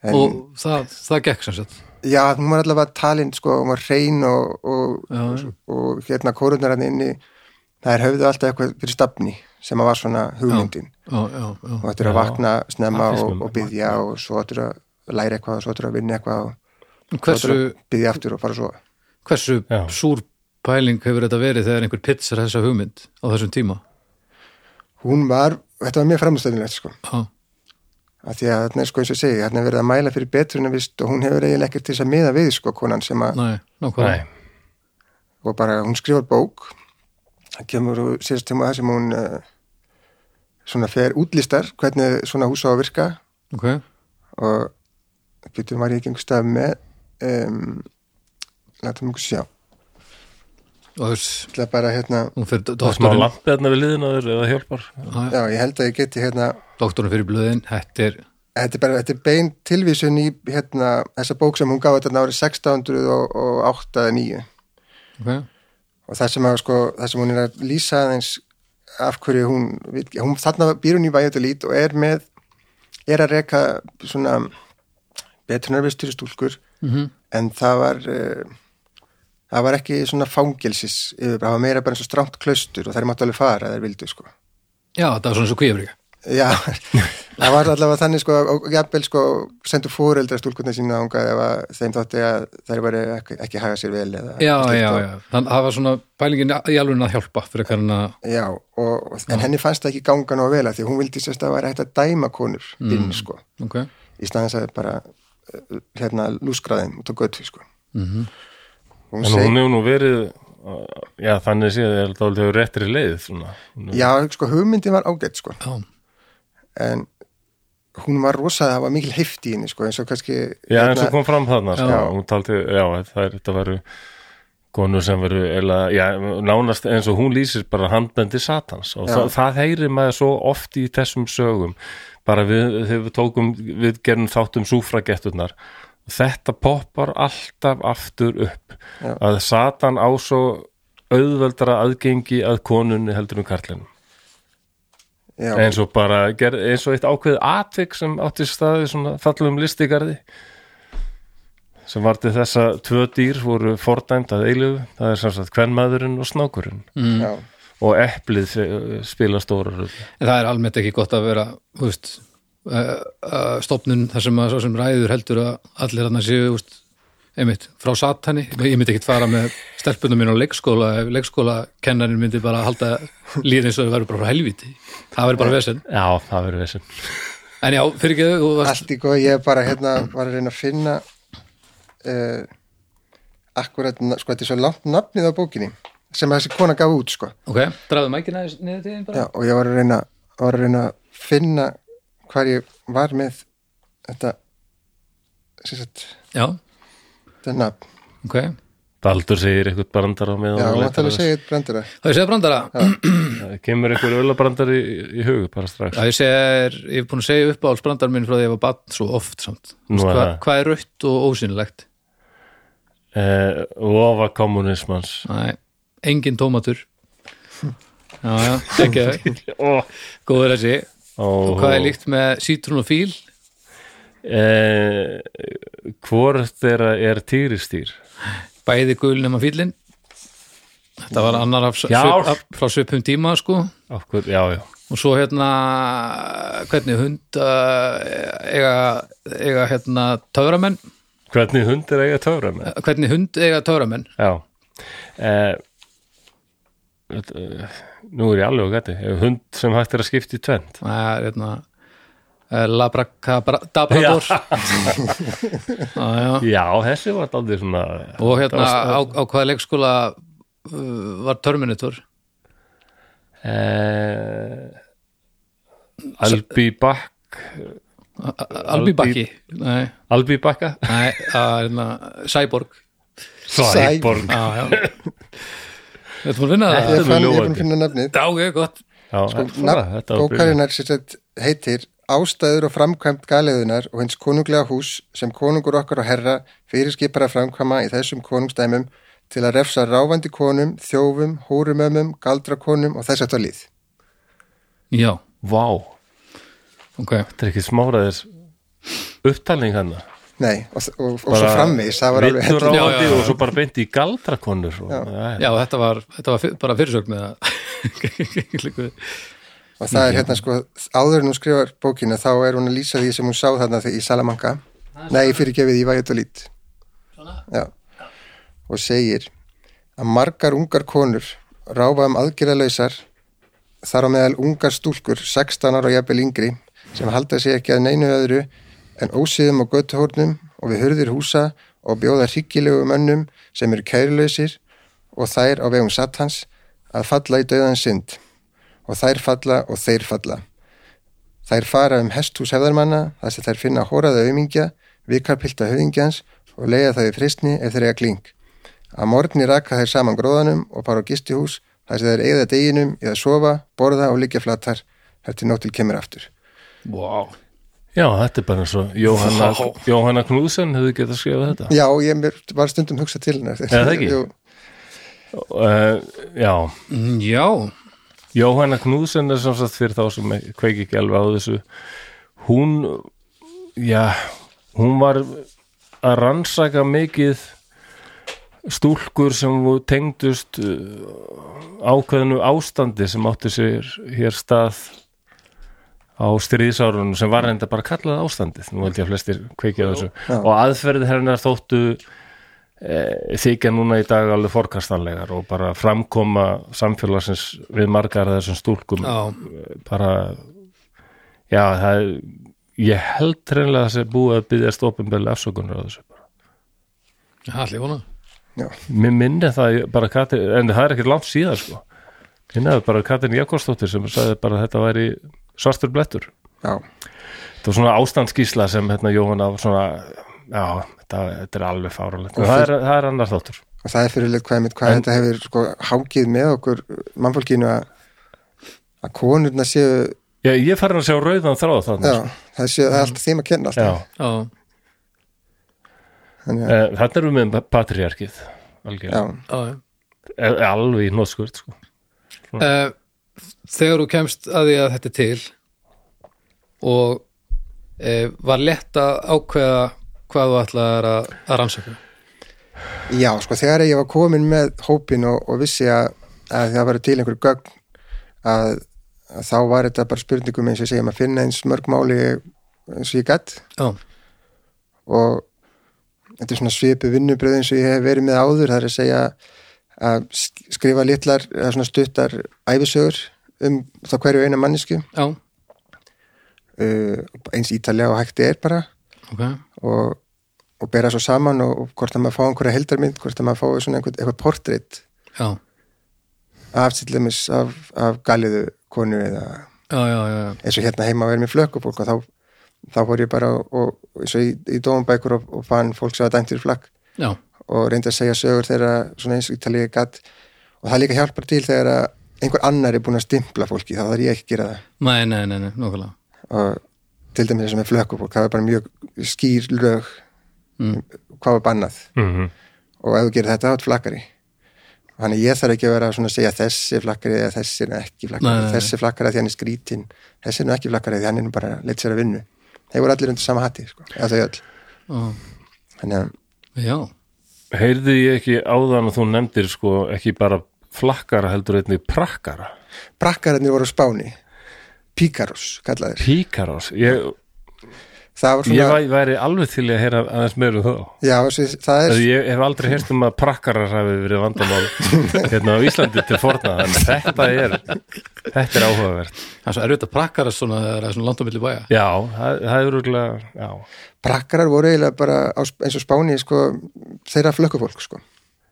En,
og það, það gekk sem sagt
Já, hún var allavega talin, sko, hún var hrein og, og, og, hérna kórunar hann inni, það er höfðu alltaf eitthvað fyrir stafni sem að var svona hugmyndin
Já, já, já,
og þetta er að vakna snemma
Það finnst
og,
mér
og byggja og svo þetta er að læra eitthvað og svo þetta er að vinna eitthvað og svo
Hversu,
þetta er að byggja aftur og fara svo.
hversu
Já.
súr pæling hefur þetta verið þegar einhver pitsar þessa hugmynd á þessum tíma?
Hún var, þetta var mjög framstæðinlegt, sko,
Já,
að því að þarna er sko eins og ég segi, þarna er verið að mæla fyrir betruna vist og hún hefur eiginlega ekkert til þess að miða við, sko, konan sem að
næ, nákvæmlega
Nei,
og bara hún skrifar bók það kemur og sérst tíma það sem hún uh, svona fer útlistar hvernig svona hús á að virka
Ok,
og býtum var ég ekki einhver stað með um, látum einhver sjá
og þess
ætla bara hérna,
hún fyrir
smá
doktorinn
lampið þarna við liðin á þér eða hjálpar
já ég held að ég geti hérna
doktorinn fyrir blöðin, þetta er
þetta er bara, þetta er bein tilvísun í hérna, þessa bók sem hún gaf þetta árið 1608 eða 9
ok,
og það sem, að, sko, það sem hún er að lýsa aðeins af hverju hún, vill- hún þarna býr hún í væjutalít og er með er að reka svona betrunarvistur stúlkur
Mhm.
-hmm. en það var uh, það var ekki svona fangelsis yfir, það var meira bara eins og stramt klaustur og þær máttu alveg fara þær vildu sko
já, það var svona svo kvíðafrika *laughs*
Já, það var allavega þannig sko og jafnvel sko sendu fóreldra stúlkurnar sína ánga ef að þeim þótti að þær væri ekki, ekki haga sér vel eða
Já,
slíkt
já,
og-
já, þannig að það var svona pælingin í alveg að hjálpa fyrir hvernig að
Já, og, en henni fannst það ekki ganga nóg vel að því að hún vildi sérst að það væri hægt að dæma konur inn, sko,
ok,
í staðins að bara eh, hérna lúskraðin út á götu, sko.
Mhm.
Mm
En
-hmm.
hún hefur nú verið uh, já, þannig séð er það alveg réttri leið svona. Hún hefur-
Já, sko, hugmyndin var ágætt, sko,
já,
en hún var rosa, það var mikil heift í henni, sko, eins og kannski... hérna,
Já, eins og kom fram þarna sko.
Já.
hún taldi, já, það er, þetta veru konur sem veru eila, já, nánast eins og hún lýsir bara handbendi satans og
Já.
það, það heyri maður svo oft í þessum sögum bara við, þegar við tókum við gerum þáttum súfragetturnar þetta poppar alltaf aftur upp
Já.
að satan á svo auðveldara aðgengi að konunni heldur um karlinum
Já,
eins og bara gerð, eins og eitt ákveð atvik sem átti sér stað í svona fallum listigarði sem var til þess að tvö dýr voru fordæmt að eilöfu, það er sem sagt kvenmaðurinn og snákurinn
já,
og eplið eh, spila stóra röðu
en það er almennt ekki gott að vera, þú veist uh, uh, stopnun þar sem að svo sem ræður heldur að allir hann séu, þú veist einmitt, frá satani, ég myndi ekkit fara með stelpunum mín á leikskóla ef leikskóla kennarin myndi bara halda líð eins og þau verður bara frá helviti það verður bara vesend,
Já, það verður vissum
en já, fyrir ekki þau þú varst,
allt í góð, ég bara hérna var að reyna að finna uh, akkurat, na- sko, þetta er svo langt nafnið á bókinni sem þessi kona gaf út, sko.
ok, drafðu mækina aðeins niður til þeim bara,
Já, og ég var að reyna, var að, reyna að finna hvað ég var með þetta sem sagt,
já,
þetta nafn
ok
Baldur segir eitthvað brandar á meðan
Já,
hann
hún
leitar
ætti alveg að
að
segja eitt brandara
það er séð brandara,
þess. Það kemur eitthvað ölabrandar í, í hug bara strax
Já, ég segi þér, ég hef búin að segja upp á alsbrandar minn frá því að ég var bann svo oft samt.
Nú er
Hva,
það.
hvað er rautt og ósynlegt?
eh, Lofa kommunismans
Næ, engin tómatur. Já, já, ekki það.
Ó,
Góður þessi.
ó,
Og hvað er líkt með sítrún og fíl?
Eh, hvort þeirra er týristýr?
Bæði gul nema fílinn. Þetta var annar af,
Já.
svip, af frá svipum tíma, sko.
Okkur, já, já
Og svo hérna, hvernig hund uh, eiga, eiga hérna töframenn?
Hvernig hundir eiga töfra með?
Hvernig hund eiga töframenn?
Já. Eh, þetta, eh, nú er ég alveg gæti, hund sem hægt er að skipta í tvend
Nei, hérna eh, Labrakabra- Dabrador Já, já
Já, þessi var aldrei svona
Og hérna á, á hvaða leikskóla uh, var Terminator
eh, Albi Bakk
A- a- Albi Bakki Nei,
Albi Bakka
nei, að hérna Cyborg
Sæborg
Já, *laughs* já Þetta var vinna
Þetta er
það
Ég fann, ég
ljóðandi.
fann finna nafnið Sko,
Já, ok, gott
Já, þetta var-
Nafn
þetta var brilliant.
bókarinnar sem sagt heitir Ástæður og framkvæmt galiðunar og hins konunglega hús sem konungur okkar og herra fyrirskipar að framkvæma í þessum konungstæmum til að refsa ráfandi konum, þjófum, hórumömmum, galdrakonum og þess að það líð.
Já,
Vá,
ok
þetta er ekki smáraðis upptalning hann
Nei, og, og, og svo framvegis, það var alveg
vittur
heldur.
Já, já, já.
og svo bara beint í galdrakonur og, já,
Já, þetta var, þetta var fyr, bara fyrirsögn með *laughs* það
Og það er hérna sko, áður en hún skrifar bókina þá er hún að lýsa því sem hún sá þarna þegar í Salamanca. Nei, fyrir gefið í Vajadolít. Já. Og segir að margar ungar konur ráfa um aðgerðalausar þar á meðal ungar stúlkur 16 ára og jafnvel yngri sem halda sig ekki að neinu öðru en ósiðum og göttuhórnum og við hurðir húsa og bjóða hryggilegu mönnum sem eru kærlausir og þær á vegum satans að falla í döðan synd og þær falla og þeir falla. Þær fara um hesthús hefðarmanna þar sem þær finna hóraða aumingja, vikarpilta höfingjans og leiða það í fristni ef þeir eiga kling. Að morgni raka þær saman gróðanum og bara á gistihús þar sem þær eigða deginum í að sofa, borða og liggja flatar þar til nóttil kemur aftur.
Wow
já, þetta er bara eins og Jóhanna,
Vá.
Jóhanna Knúsen hefði getað skrifað þetta
Já, ég mér var stundum hugsað til hennar.
Er það ekki?
Jú,
uh, Já,
Mm, Já,
Jóhanna Knúsen er sem sagt fyrir þá sem kveiki ekki alveg á þessu hún já, hún var að rannsaka mikið stúlkur sem voru tengdust uh, ákveðnu ástandi sem átti sér hér stað á stríðsárunum sem var reynda bara kallað ástandið, nú held ég að flestir kveikið á þessu og aðferðið hennar þóttu eh, þykja núna í dag alveg forkastanlegar og bara framkoma samfélagsins við margar af þessum stúlkum
já,
bara já, það er ég held reynlega að það sé búið að byggja stofinbeli afsökunar á þessu bara.
allir vona
já.
mér minni það ég- bara Katrin, en það er ekkert langt síðan sko minni það bara Katrin Jakobsdóttir sem sagði bara að þetta væri svartur blettur
Já,
þetta var svona ástandskísla sem hérna Jóhanna var svona, já, þetta, þetta er alveg fáralegt, það er, það er annar þáttur
og það er fyrirleitt hvað, einmitt hvað þetta hefur sko hákið með okkur mannfólkinu að að konurna séu,
Já, ég er farin að sjá rauðan þráð þarna sko.
já, það séu það er allt þeim að kenna
Já,
alltaf.
Já,
Þannig að-
eh, þarna erum við með patriarkið algjörlega,
Já,
já, já
Eh, alveg í nótskvöld sko.
Eh, Þegar þú kemst að því að þetta er til og e, var lett að ákveða hvað þú ætlaðir að, að rannsaka
já, sko þegar ég var komin með hópin og, og vissi að, að það var til einhver gögn að, að þá var þetta bara spurningum eins og ég segjum að finna eins mörg máli eins og ég gætt
Já,
og þetta er svona svipu vinnubröð eins og ég hef verið með áður það er að segja að sk- skrifa litlar eða svona stuttar æfisögur um þá hverju eina mannisku
já,
uh, eins ítalega og hægt er bara
ok
og, og bera svo saman og, og hvort að maður fá einhverja heldarmynd hvort að maður fá svona einhver, einhver portrétt
Já,
af til dæmis af, af galiðu konu eða
já, já, já, já.
eins og hérna heima verið með flökkubólk og þá, þá voru ég bara og, og eins og í, í dómabækur og, og fann fólk sem var dæmt fyrir flakk
já.
og reyndi að segja sögur þeirra svona eins og ítalíði gatt og það líka hjálpar til þegar að einhver annar er búin að stimpla fólki þá þarf ég ekki að gera það
Nei, nei, nei, nei, nokkulega
og til dæmis eins og með flökkubólk það er bara mjög skýr lög
Mm.
hvað var bannað
mm -hmm.
og ef þú gerir þetta átt flakkari þannig að ég þarf ekki að vera svona að segja þessi flakkari eða þessi er nú ekki flakkari
Nei, nei, nei.
þessi flakkari af því hann er skrítin þessi er nú ekki flakkari af því hann er nú bara leitt sér að vinnu þeir voru allir undir sama hatti sko, eða þau öll
Já,
þannig að,
já,
Heyrði ég ekki áðan að þú nefndir sko ekki bara flakkara heldur einnig prakkara
brakkararnir voru á spáni Píkarus kallaðir,
Píkaros, ég
það var
Ég
svona,
væ- væri alveg til í að heyra aðeins meiru þá
já, þessi- það
Þegar
er
ég hef aldrei heyrst um að prakkarar hafi verið
*laughs*
vandamál hérna á Íslandi til forna en þetta er, þetta er áhugavert
Það er svo erfitt að prakkara svona þegar það er svona langt á milli bæja.
Já, það, það er úrlega já.
brakkarar voru eiginlega bara á, eins og spáni, sko, þeirra flökkufólk, sko,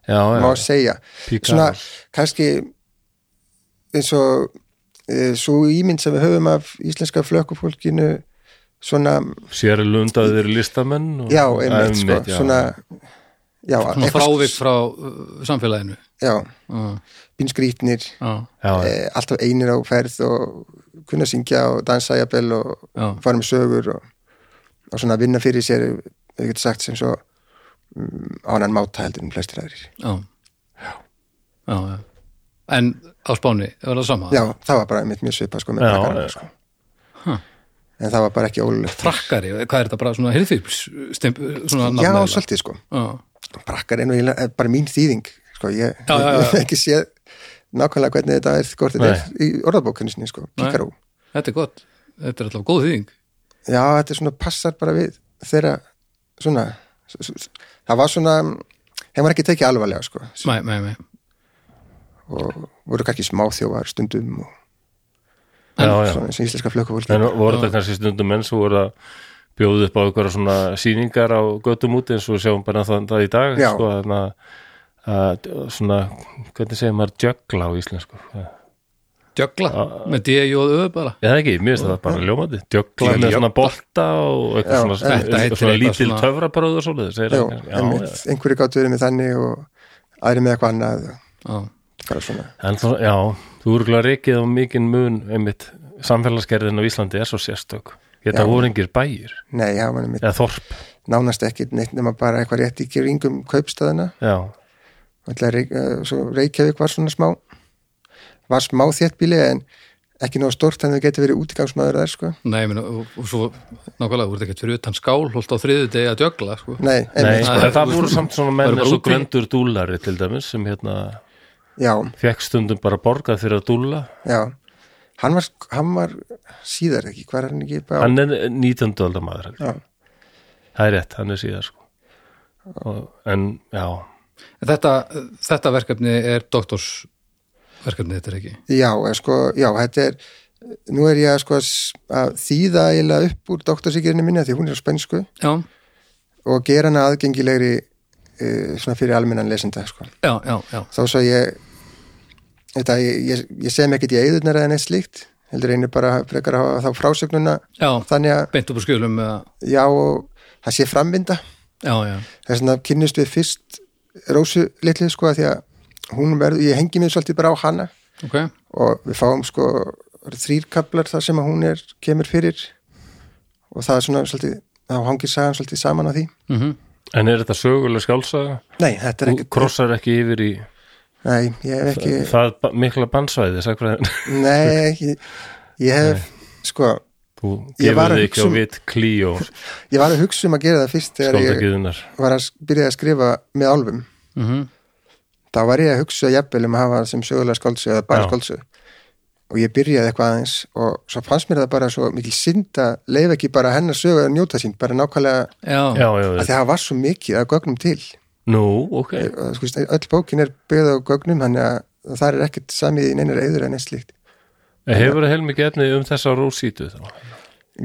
Já,
má
já,
segja svona,
píkarar
kannski eins og e, svo ímynd sem við höfum af íslenska flökkufólkinu svona,
Sér er lundaðir listamenn og,
já, einmitt, sko,
já.
svona já,
Svona
eitthvað-
frávik frá uh, samfélaginu.
já,
Uh,
bínskrítnir
uh,
já, já.
e, alltaf einir á ferð og kunna syngja og dansa jafnvel og
já.
fara með sögur og, og svona vinna fyrir sér ef við getum sagt sem svo um, ánan máta heldur en flestir aðrir
Já. Já, já. En á Spáni, var það sama?
já, það var bara einmitt mjög svipa sko, með
Já,
brakkarana
já.
sko.
Huh.
en það var bara ekki ólulegt
Prakkari, hvað er þetta bara svona hirðfíls? Svona
já,
nafn eiginlega?
svolítið sko
Já,
brakkar er nú eiginlega- er bara mín þýðing sko, ég
Já, já, já.
*laughs* hef ekki séð nákvæmlega hvernig þetta er hvort þetta er í orðabókunni sinni sko,
Nei.
píkarú
þetta er gott. Þetta er alltaf góð þýðing.
já, þetta er svona passar bara við þeirra svona s- s- það var svona þeim var ekki tekið alvarlega sko
Nei, nei, nei.
og voru kannski smáþjófar stundum og
já, já.
svona eins og íslenska flökkufólki
En voru þetta kannski stundum menn sem voru að bjóða upp á einhverja svona sýningar á göttum úti eins og við sjáum bara það, það í dag
Já.
sko, þannig að- að svona, hvernig segir maður jökla á íslensku Já.
Djögla, með D-J-Ö bara.
eða ekki, mér finnst það bara ljómandi jökla
Jökla.
með svona bolta og
Já,
eitthvað svona,
þetta heitir
svona, svona
eitthvað
lítil
svona-
töfrabröð og svoleiðis segir
já,
hann kannski. já,
einmitt, einhverju gáttu verið með þannig og aðri með eitthvað annað og
Já,
bara svona
já. En svona, já, þú eru glæð reikið á mikinn mun einmitt, samfélagsgerðin á Íslandi er svo sérstök þetta
Já.
voru engir bæir,
nei, já, mann einmitt,
eða þorp
nánast ekkit neitt nema bara eitthvað rétt í kringum kaupstæðina
já,
Ætla, reik, eh, svo Reykjavík var svona smá var smá þéttbíli en ekki nóg stort þannig að þau geti verið útigangsmaður þar sko
nei, meni, og, og svo nákvæmlega, voru þetta ekkert fyrir utan skál, holt á þriðu degi að djögla, sko.
nei,
Nei,
einmitt,
sko.
en það voru samt svona
Bara
menn
bara
eins og
úti.
glendur dúlari til dæmis sem hérna
já,
fekk stundum bara borgað fyrir að dúlla
já hann var, hann var síðar ekki, hvað er hann ekki bara,
hann er 19. aldar maður held ég.
Já.
það er rétt, hann er síðar sko. og, en já
En Þetta, þetta verkefni er doktorsverkefni, þetta er ekki.
Já, eh, sko, já, þetta er nú er ég að, sko, s- að þýða eiginlega upp úr doktorsíkirinu minni af því hún er á spænsku
Já,
og gera hana aðgengilegri uh, svona fyrir almennan lesenda sko.
já, já, já.
þó svo ég þetta, ég, ég, ég sem ekkert í eigðunar eða neitt slíkt heldur einu bara frekar að hafa þá frásögnuna
Já,
þannig að
beint upp á skjölum, eða,
já, og það sé framvinda
já, já,
þess að kynnist við fyrst Rósu litlið sko af því að hún verður, ég hengi mig svolítið bara á hana
ok,
og við fáum sko þrýrkablar þar sem að hún er kemur fyrir og það er svona svolítið, þá hangir sagan svolítið saman á því
mhm.
en er þetta söguleg skálsaga?
nei, þetta er
Þú
ekki
krossar ekki yfir í
nei, ég hef ekki,
það ba- mikla bannsvæði
*laughs*
sagfræðin.
nei, ekki ég hef, sko
þú
Ég
gefur
var að
þig
hugsa
ekki á
um-
vit klíó
ég var að hugsa um að gera það fyrst þegar ég
skáldagiðunar
var að byrja að skrifa með álfum
Mm
þá var ég að hugsa jafnvel um að hafa það sem sögulega skáldsöð eða bara
Já.
skáldsöð og ég byrjaði eitthvað aðeins og svo fannst mér það bara svo mikil synd að leif ekki bara hennar sögu að njóta sín bara nákvæmlega að
Já,
já, já,
því að
já.
það var svo mikið að gögnum til
nú, ok
og, þú veist, öll bókin er byggð á gögnum þannig að það er ekkert samið í neinar eður en eins slíkt
hefur það heilmikið efni um þessa rósítu þá?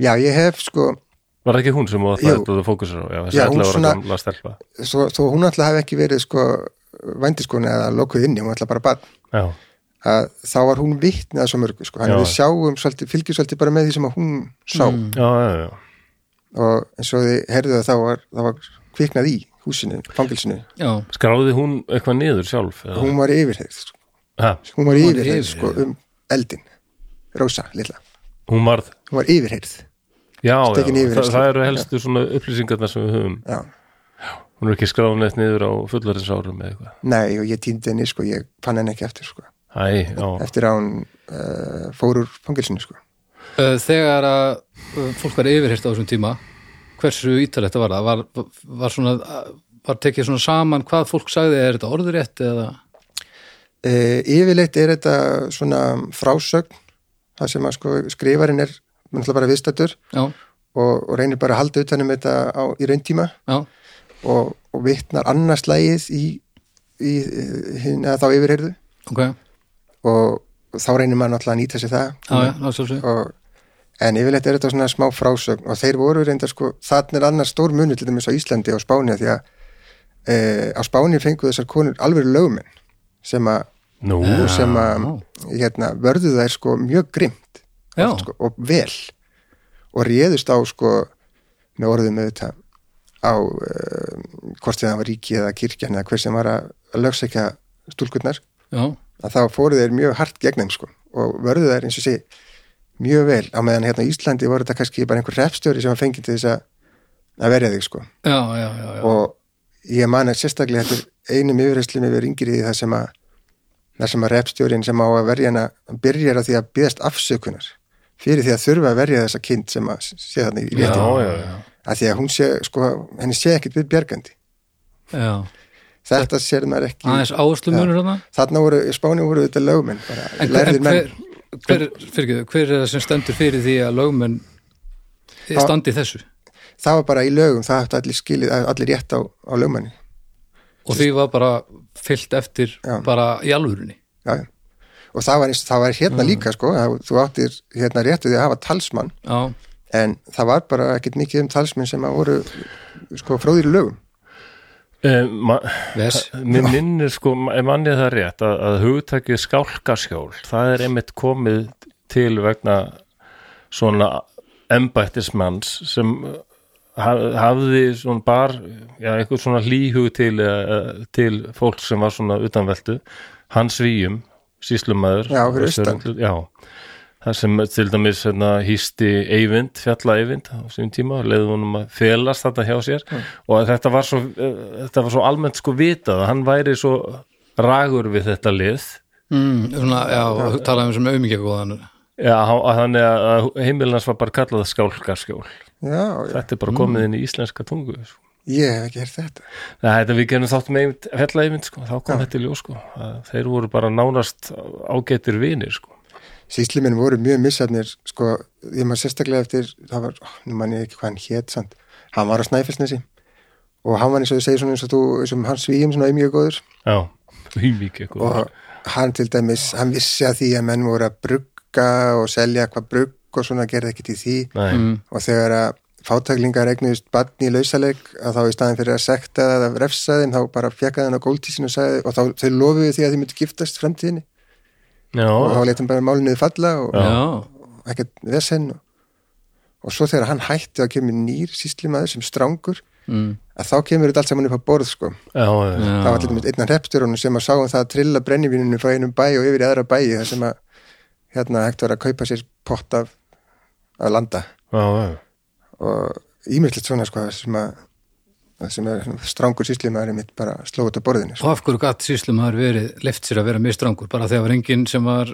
já ég hef sko,
var ekki hún sem var
Jú.
það að fókusur á já, þessi
Já,
11
hún
ára
svona-
gamla stelpa
svo, þó hún alltaf hafi ekki verið sko vændiskona eða lokuð inni, hún alltaf bara bann
já,
að þá var hún vitnið að svo mörgu sko, hann
Já.
við sjáum svolítið, fylgjum svolítið bara með því sem að hún sá
já, já, já.
og eins og þið heyrðu að þá var, það var kviknað í húsinu, fangilsinu
já,
skráði hún eitthvað niður sjálf? eða?
hún var yfirheyð sko.
Ha,
Hún
hún var
var
yfirheyð
yfirheyrð.
sko um eldin Rósa, litla,
hún varð
hún var yfirheyð
já, já,
Tekin yfir,
það,
sko.
það eru helstu svona upplýsingarna sem við höfum
já,
hún er ekki skráð neitt niður á fullarinnsárum eða eitthvað
nei og ég týndi henni sko, ég fann henni ekki eftir sko
Æ, já,
eftir að hún uh, fór úr fangilsinu sko.
Uh, Þegar að uh, fólk var yfirhirt á þessum tíma hversu ítalegt það var það var, var, svona, var tekið svona saman hvað fólk sagði, er þetta orðurétt eða
Uh, yfirleitt er þetta svona frásögn það sem að sko, skrifarinn er náttúrulega bara viðstættur
já,
og, og reynir bara að halda utanum þetta á, í rauntíma
já,
og, og vitnar annars lægið í, í hinna, þá yfirheyrðu
ok, já,
og þá reynir maður náttúrulega að nýta sér það
já, það er svolítið
og, en yfirleitt er þetta svona smá frásögn og þeir voru reyndar sko, þannig er annars stór munur til dæmis á Íslandi og Spáni af því að e, á Spáni fengu þessar konur alveg lögumenn sem að
Nú,
sem að hérna, vörðu þær sko mjög grimt
Já.
oft, sko, og vel og réðust á sko með orðum auðvitað á uh, hvort sem það var ríki eða kirkjan eða hver sem var að lögsækja stúlkurnar
já,
að þá fóru þeir mjög hart gegn þeim sko og vörðu þær eins og sé mjög vel á meðan hérna á Íslandi voru þetta kannski bara einhver refstjóri sem var fengið til þess að að verja þig sko
já, já, já, já.
og ég man að sérstaklega þetta er einum yfirheyslum yfir yngriði það sem að það sem að repstjórin sem á að verja hana byrjar á því að byggast afsökunar fyrir því að þurfa að verja þessa kind sem að sé þannig í
já,
rétti
já, já.
að því að hún sé, sko, henni sé ekkit við bjargandi
já.
þetta sér maður ekki
aðeins áherslu munur þarna
þarna voru, í Spáni voru þetta lögumenn bara
en, hver-
lærðir
en
menn
hver, hver, fyrir, hver er það sem stendur fyrir því að lögmenn standi í þessu
það var bara í lögum, það hætti allir skilið allir rétt á, á lögumenni
og því var bara fyllt eftir
Já.
bara í alvörunni
já, já. og það var, eins, það var
Mm.
hérna líka sko, að þú áttir hérna réttu því að hafa talsmann
já,
en það var bara ekkert mikið um talsmenn sem að voru sko fróðir í lögum
Eh, ma-
ves
Mér minnir sko, ef mannið það rétt að, að hugtakið skálkaskjól það er einmitt komið til vegna svona embættismanns sem eh, ha- hafði svona bar já, einhver svona hlýhug til, eh, til fólk sem var svona utanveltu hans víum, síslumæður
Já, fyrir austan.
Já, það sem til dæmis hérna, hýsti Eyvind, fjalla Eyvind á síðum tíma, leiði honum að felast þetta hjá sér og að þetta var, svo, eh, þetta var svo almennt sko vitað að hann væri svo ragur við þetta lið
mm, svona, já, um já. talaðum sem auðmyggjakóðan
Já, hann- að þannig að- að heimilans var bara kallað skálkarskjól
já, já.
þetta er bara
Mm.
komið inn í íslenska tungu sko.
ég hef ekki hert þetta
Nei, þetta við gerum þáttum einmitt, fjalla einmitt sko, þá kom þetta í ljós sko að þeir voru bara nánast ágættir vinir sko
sísluminn voru mjög missarnir sko, ég maður sérstaklega eftir það var, ó, nú man ég ekki hvað hann hét sant. hann var á Snæfellsnesi og hann var eins og þú segir svona eins og þú eins og hann svíjum svona mjög góður
Já, hýmík eitthvað
og hann til dæmis, hann vissi að því að menn voru að brugga og selja hvað brugg og svona gerði ekkert í því
Nei,
Mm,
og þegar að fátæklingar eignuðist barn í lausaleg að þá í staðin fyrir að sekta það að refsa þeim þá bara fjekkaði hann á góltísinu og, sagði, og þá, þau lofuðu því að þau myndi giftast framtíðinni og
já,
þá letum bara málinuði falla og,
já,
og ekkert vesinn og, og svo þegar hann hætti að kemur nýr síslimaður sem strangur
Mm.
að þá kemur þetta allt saman upp á borð sko.
já, já,
já.
það var allir einna repturunum sem að sá um það að trilla brennivínunum frá einum bæ og yfir í aðra bæi þar sem að hérna hægt var að kaupa sér pott af að landa
já, já.
og ímyndilegt svona sko sem að sem er svona strangur síslimaður mitt bara sló út á borðinu sko.
og af hverju gatt síslum hafa verið leift sér að vera mistrangur, bara þegar var enginn sem var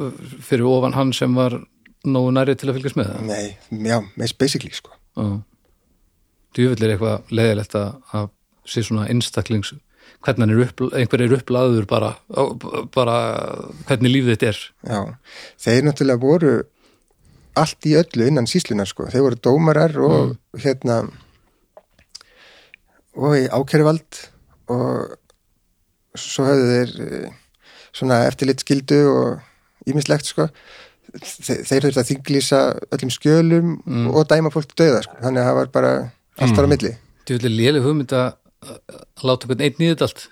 uh, fyrir ofan hann sem var nógu nærið til að fylgjast með það
nei, já, meist basically sko
já. djúvill er eitthvað leðilegt að, að sé svona einstaklings hvernig hann er upp, einhver er upplaður bara, á- bara hvernig lífið þitt er
já, þeir náttúrulega voru allt í öllu innan síslunar sko þeir voru dómarar og hérna og í ákervald og svo höfðu þeir eh, svona eftirlit skildu og ímislegt sko Þe, þeir þurftu að þinglýsa öllum skjölum og dæma fólk til dauða sko. þannig að það var bara allt þar á milli
djúvill er léleg hugmynd að að láta hvern einn í þetta allt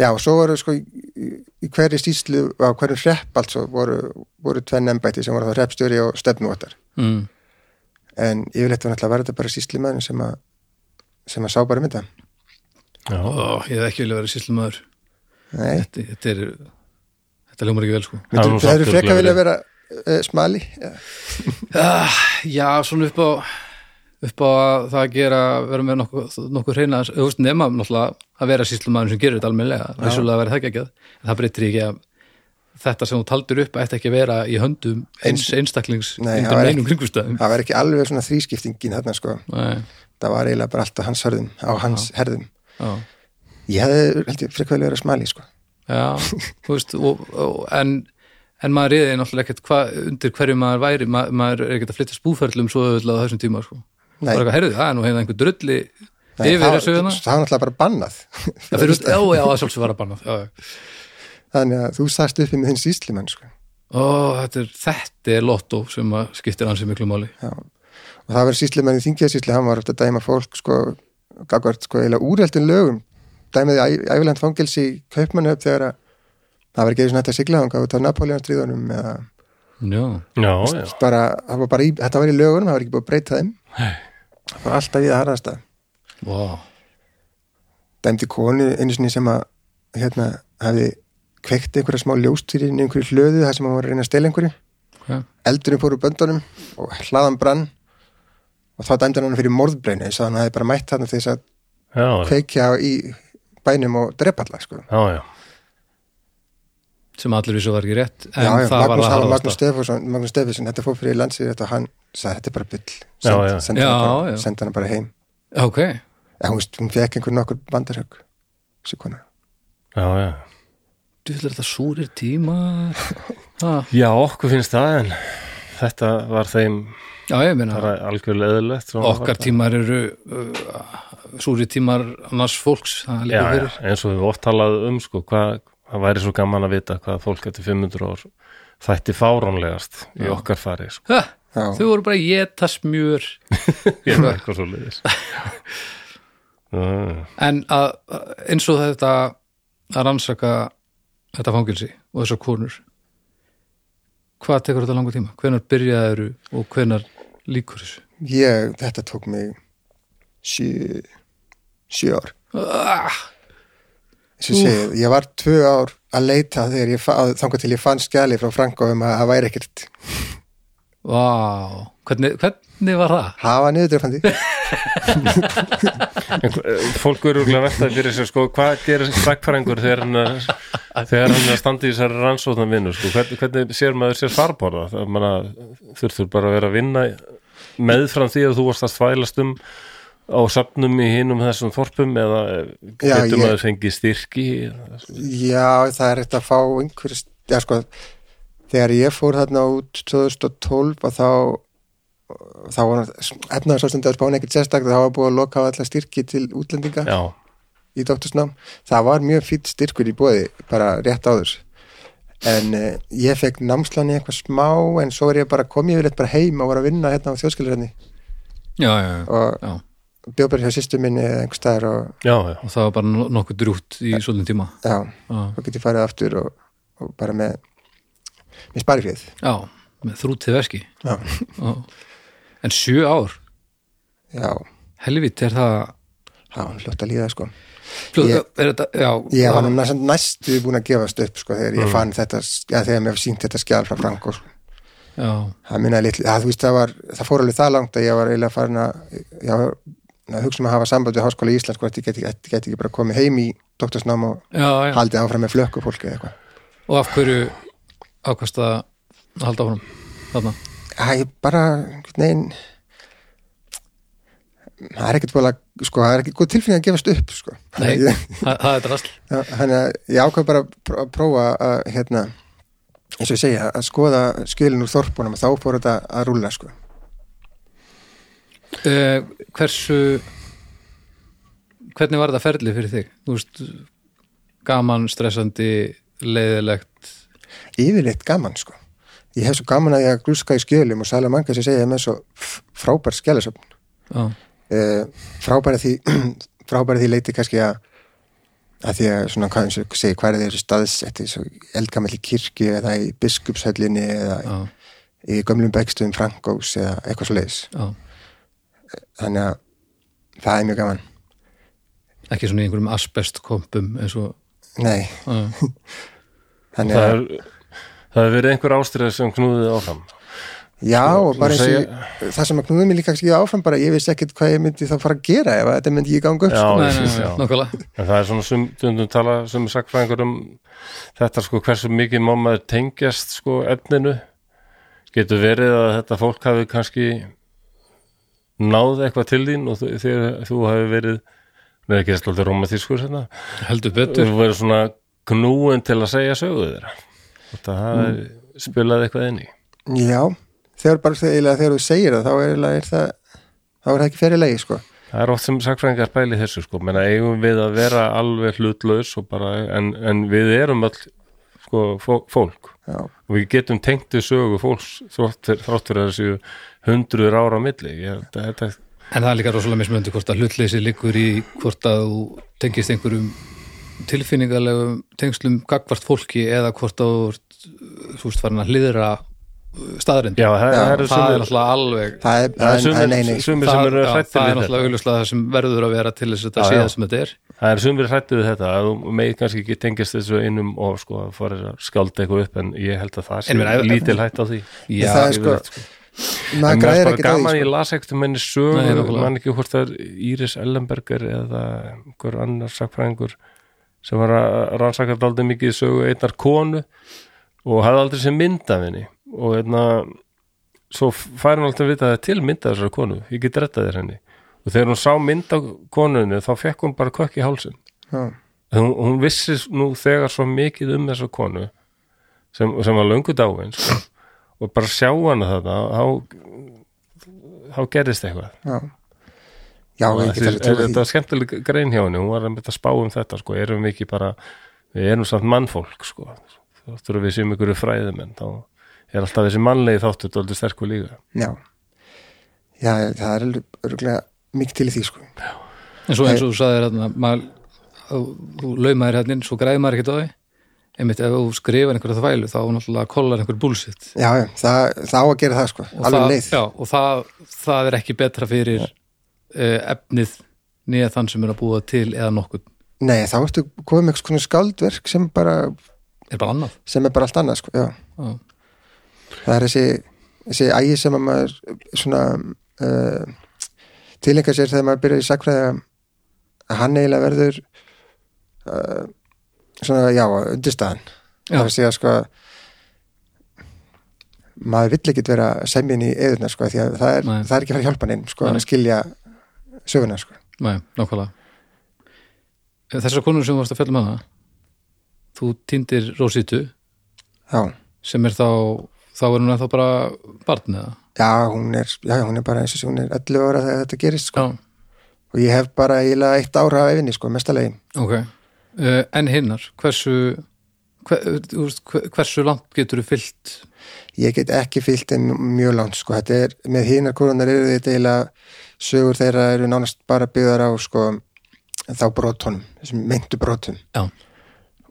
Já, og svo voru sko í, í- í hverju sýslu, á hverju hrepp alls voru, voru tvenn embætti sem voru þá hreppstjóri og stefnvotar.
mm.
En yfirleitt var náttúrulega var þetta bara sýslimaður sem að sem að sá bara mynda.
já.
Ó, ég hef ekki vilja vera síslumæður
Nei,
þetta, þetta er þetta hljómar ekki vel sko
Það er nú
myndu, það
samt
eru freka
örugglega
vilja vera uh, smali. Já,
ah, já, svona upp á upp á að það að gera vera með nokkuð, nokkuð hreina þú veist nema náttúrulega að vera síslumæður sem gerir þetta almennilega, vissulega verið það ekki en það breytir ekki að þetta sem þú taldir upp ætti ekki að vera í höndum eins, einstaklings
Nei, það
undir
var
neinum kringustæðum
það var ekki alveg svona þrískiptingin þarna sko.
Nei,
Það var eiginlega bara allt á hans hörðum, á hans herðum.
já,
Ég hefði, held ég, freka vilja vera smali sko.
já þú veist og, og, en en maður reyði náttúrulega ekkert hva, undir hverju maður væri, ma, maður er ekkert að flytta spúferlum svo auðvitað á þessum tíma sko.
Nei.
bara eitthvað, herðu, það er nú hefða einhver drulli
Nei,
yfir
það,
þessu hérna
það var náttúrulega bara bannað *laughs*
Það fyrir út, já, já, það sjálfsög var að banna já, já.
þannig að þú sast uppi með þinn síslimenn sko.
Ó, þetta er, þetta er lottó sem að skiptir ansið miklu máli
Já. og það var síslimenn í þingjasísli hann var eftir að dæma fólk sko, gagvart sko eiginlega úrheldin lögum dæmiði æ- ævilegt fangelsi í kaupmannöf þegar að það var ekki einu sinni hægt að sigla þangað út af Napoleonstríðunum eða
Já,
já, já,
bara, það var bara í, þetta var í lögunum það var ekki búið að breyta þeim
Nei.
það var alltaf í það harðasta
vá
dæmdi konu einu sinni sem að hérna, hafi kveikt einhverja smá ljóstýri inn í einhverju hlöðu þar sem hann var að reyna að stela einhverju
okay.
eldurinn fór úr böndunum og hlaðan brann og þá dæmdi hann hann fyrir morðbreinu þess að hann hafi bara mætt hann þess að
já, já,
kveikja í bænum og drepa alla sko.
já, já.
sem allir vissu var ekki rétt en
já, já,
það var
Magnús,
að
var
harðast
Magnús Stefánsson Magnús Stefánsson, þetta fór fyrir landsýr og hann sagði þetta er bara byll
Já, já.
send, send,
Já,
hann bara-
já.
send hann bara heim
Ok,
en hún, veist, hún fekk einhver nokkur bandarhögg þessi kona
já, já.
djúðlega þetta súrir tíma
*laughs*
ha.
Já, okkur finnst það en þetta var þeim
Já, ég meina
bara algjörlega eðlilegt. svona var
okkar
það.
tímar eru uh, súri tímar annars fólks
Já,
það liggur
já,
fyrir
eins og við oft talaði um sko, hvað, það væri svo gaman að vita hvað fólk eftir 500 ár þætti fáránlegast í okkar fari
*laughs*
sko.
ha,
Já.
þau voru bara að geta smjör
ég veit eitthvað svo
*laughs*
leiðis
en að, eins og þetta að rannsaka þetta fangilsi og þessar konur hvað tekur þetta langa tíma? hvenar byrjaði eru og hvenar líkur þessu?
ég, þetta tók mig sjö sjö ár
Ah,
Eins og ég segi, ég var tvö ár að leita þegar ég fa- að- þangað til ég fann skjali frá Franko um að það væri ekkert
vá, hvernig, hvernig var það?
hafa niðurdrefandi
eh, fólk eru örugglega að veltaði fyrir sér sko, hvað gerir stakkfæringur þegar hann er, þegar hann er að standa í þessari rannsóðan vinnu sko? hvernig, hvernig sér maður sér farborða það manna, þurftur bara að vera að vinna meðfram því að þú varst að þvælast um á safnum í hinum þessum þorpum eða
Já,
getur
ég-
maður fengið styrki
já, það er ekkert að fá einhver já, sko, þegar ég fór þarna út 2012 að þá þá var efnaðarsástandi á spáni ekkert sérstaklega þá var búið að loka á alla styrki til útlendinga
já,
í doktorsnám það var mjög fýtt styrkur í bóði bara rétt áður en uh, ég fekk námslan í eitthvað smá en svo er ég bara komið yfirleitt bara heim og var að vinna hérna á þjóðskilurhenni
Já, já, já.
og
já
bjóð bara hjá sýstu minni eða einhver staðar og
já, já,
og það var bara no- nokkuð drútt í svolítið tíma
já,
Já.
þá get ég farið aftur og, og bara með með sparifjöð
já, með þrútið verski
já,
Já. En sjö ár,
já,
helvitt er það
það var fljótt að líða sko
Fljóð,
Ég-
er þetta, já,
ég var nú næst, næstu búin að gefast upp sko þegar ég fann þetta ja, þegar mér sínt þetta skjál frá Franko sko.
já,
það minna litli, það, þú veist það var það fór alveg það langt að ég var eiginlega farin að já, að hugsa um að hafa samband við háskóla í Ísland sko, þetta get, get, get ekki bara komið heim í doktorsnám og
já, já.
haldið áfram með flökku fólki eða eitthvað
og af hverju ákvast að halda áfram þarna,
það er bara, einhvern veginn það er ekkert búin að, sko, það er ekki góð tilfinning að gefast upp, sko
nei,
Ég-
það það er drasl
Já, þannig að ég ákveð bara að pró- að prófa að, hérna, eins og ég segja, að skoða skilin úr þorpunum og þá fór þetta að rúlla, sko.
uh, hversu hvernig var þetta ferli fyrir þig þú veist, gaman stressandi, leiðilegt
Yfirleitt gaman, sko. Ég hef svo gaman að ég að glúska í skilum og Salamanca sem segja ég er með svo f- frábær skjálasöfn.
já,
Uh, frábæri því, *clears throat* frábæri því leiti kannski að, að því að svona, hvað, eins og ég segi, hvað er þeir staðsetti, svo eldgamalli kirkju eða í biskupshöllinni eða
já,
í gömlum bækstöðum Frankós eða eitthvað svo leiðis.
já
Þannig að það er mjög gaman.
ekki svona í einhverjum asbestkompum eins og
Nei,
já,
þannig
það
að
er það hefur verið einhver ástriða sem knúðið áfram
Já, og bara
Sko, þú
eins og það sem að knúðum mér líka kannski áfram bara, ég vissi ekkit hvað ég myndi þá fara að gera ef að þetta myndi ég ganga upp
Já,
sko.
nei,
ég
nei,
skil,
nei,
já.
nákvæmlega
En það er svona sum, stundum tala sem sakfræðingur um þetta sko hversu mikið má maður tengjast sko efninu getur verið að þetta fólk hafi kannski náð eitthvað til þín og þú- þegar þú hafi verið neða ekki svolítið romantískur hérna
heldur betur
þú verið svona knúin til að segja sögu þeirra og það er spilaði eitthvað inn í
já, þegar bara þegar, þegar þú segir það þá er, eiginlega- er það þá er það ekki fyrir legi sko
Það er oft sem sakfræðingar bæli þessu sko, menna eigum við að vera alveg hlutlaus og bara, en, en við erum all sko fó- fólk
já,
og við getum tengt við sögu fólks þrátt fyrir- þrátt fyrir þessu hundruður ára á milli ég, þetta, þetta,
En það er líka rosalega mismöndi hvort að hlutleysi liggur í hvort að þú tengist einhverjum tilfinningalegum tengslum gagvart fólki eða hvort að þú ert, þú veist farin að hliðra staðrind.
já, það, það eru
það er
sumir
náttúrulega alveg
það er,
það er
það er sko. neini
sumir, sumir sem
það,
eru
já,
hrættir
það er
við þetta
náttúrulega augljóslega það sem verður að vera til þess að þetta
Já,
sé
já.
það sem þetta er.
það er sumir hrættir við þetta að þú megið kannski ekki tengist þessu innum og sko að fara að skálda eitthvað upp en ég held að það sé
En meina, ef-
lítil hætt á því
Já,
það er sko,
yfirleitt,
maður
En mér
græðir
er bara
ekki það
gaman,
sko.
ég las ekkert um henni sögu,
Nei,
Nei,
nákvæmlega.
mann ekki hvort það er Íris Ellenberger eða einhver annar sakfræðingur sem var að rannsaka daldið mikið sögu einnar konu og hafði aldrei sem mynd af henni og einna svo fær hún alltaf að vita að það er til mynd af þessari konu ég get rettað þér henni og þegar hún sá mynd af konunni þá fekk hún bara kökk í hálsinn
Já,
hún, hún vissi nú þegar svo mikið um þessa konu sem, sem var löngu dáin sko. og bara sjá hana þetta þá, þá gerðist eitthvað
já já, ég
Þessi,
get alveg
er,
trúið
þetta
því
var skemmtileg grein hjá henni hún var að spá um þetta sko. erum við ekki bara við erum samt mannfólk sko. þáttur að við séum ykkur fræðumenn þá er alltaf þessi mannlegi þáttur dálítið sterkur líka
já, já, það er örgulega mikið til í því sko
En svo eins og þú sagðir hérna, maður, þú þú laumaðir hérna inn, svo græði maður ekkert á því. Einmitt ef þú skrifar einhverja þvælu þá náttúrulega kollar einhver búlsitt.
já, já, það, það á að gera það sko
Og
alveg
það-
leið
Já, og það, það er ekki betra fyrir uh, efnið nýja þann sem er að búa til eða nokkuð.
Nei, þá ertu komið með eitthvað svona skáldverk sem bara,
Er bara annað.
sem er bara allt annað sko, já
Já.
það er þessi, þessi ægi sem að maður svona uh, tilengar sér þegar maður byrjar í sakfræði að hann eiginlega verður uh, svona, já, undirstaðan
Já.
það er að segja sko maður vill ekkit vera semjinn í eðurna sko, því að það er,
Nei.
það er ekki að fara að hjálpa neinn sko,
Nei.
að skilja söguna sko.
Nei, nákvæmlega. Eh, Þessar konur sem þú varst að fjalla með hana, þú týndir Rósitu
já,
sem er þá, þá er hún ennþá bara barn eða?
já, hún er já, hún er bara eins og sé, hún er 11 ára þegar þetta gerist sko.
Já,
og ég hef bara eiginlega eitt ára af efinni, sko, mestalegin
ok. Uh, en hinnar, hversu, hver, þú veist, hver- hversu langt getur þú fyllt?
ég get ekki fyllt en mjög langt sko. þetta er, með hinar korunar eru þetta eiginlega sögur þeirra eru nánast bara byggðar á sko, þá brotunum, þessum myndu brotum
Já.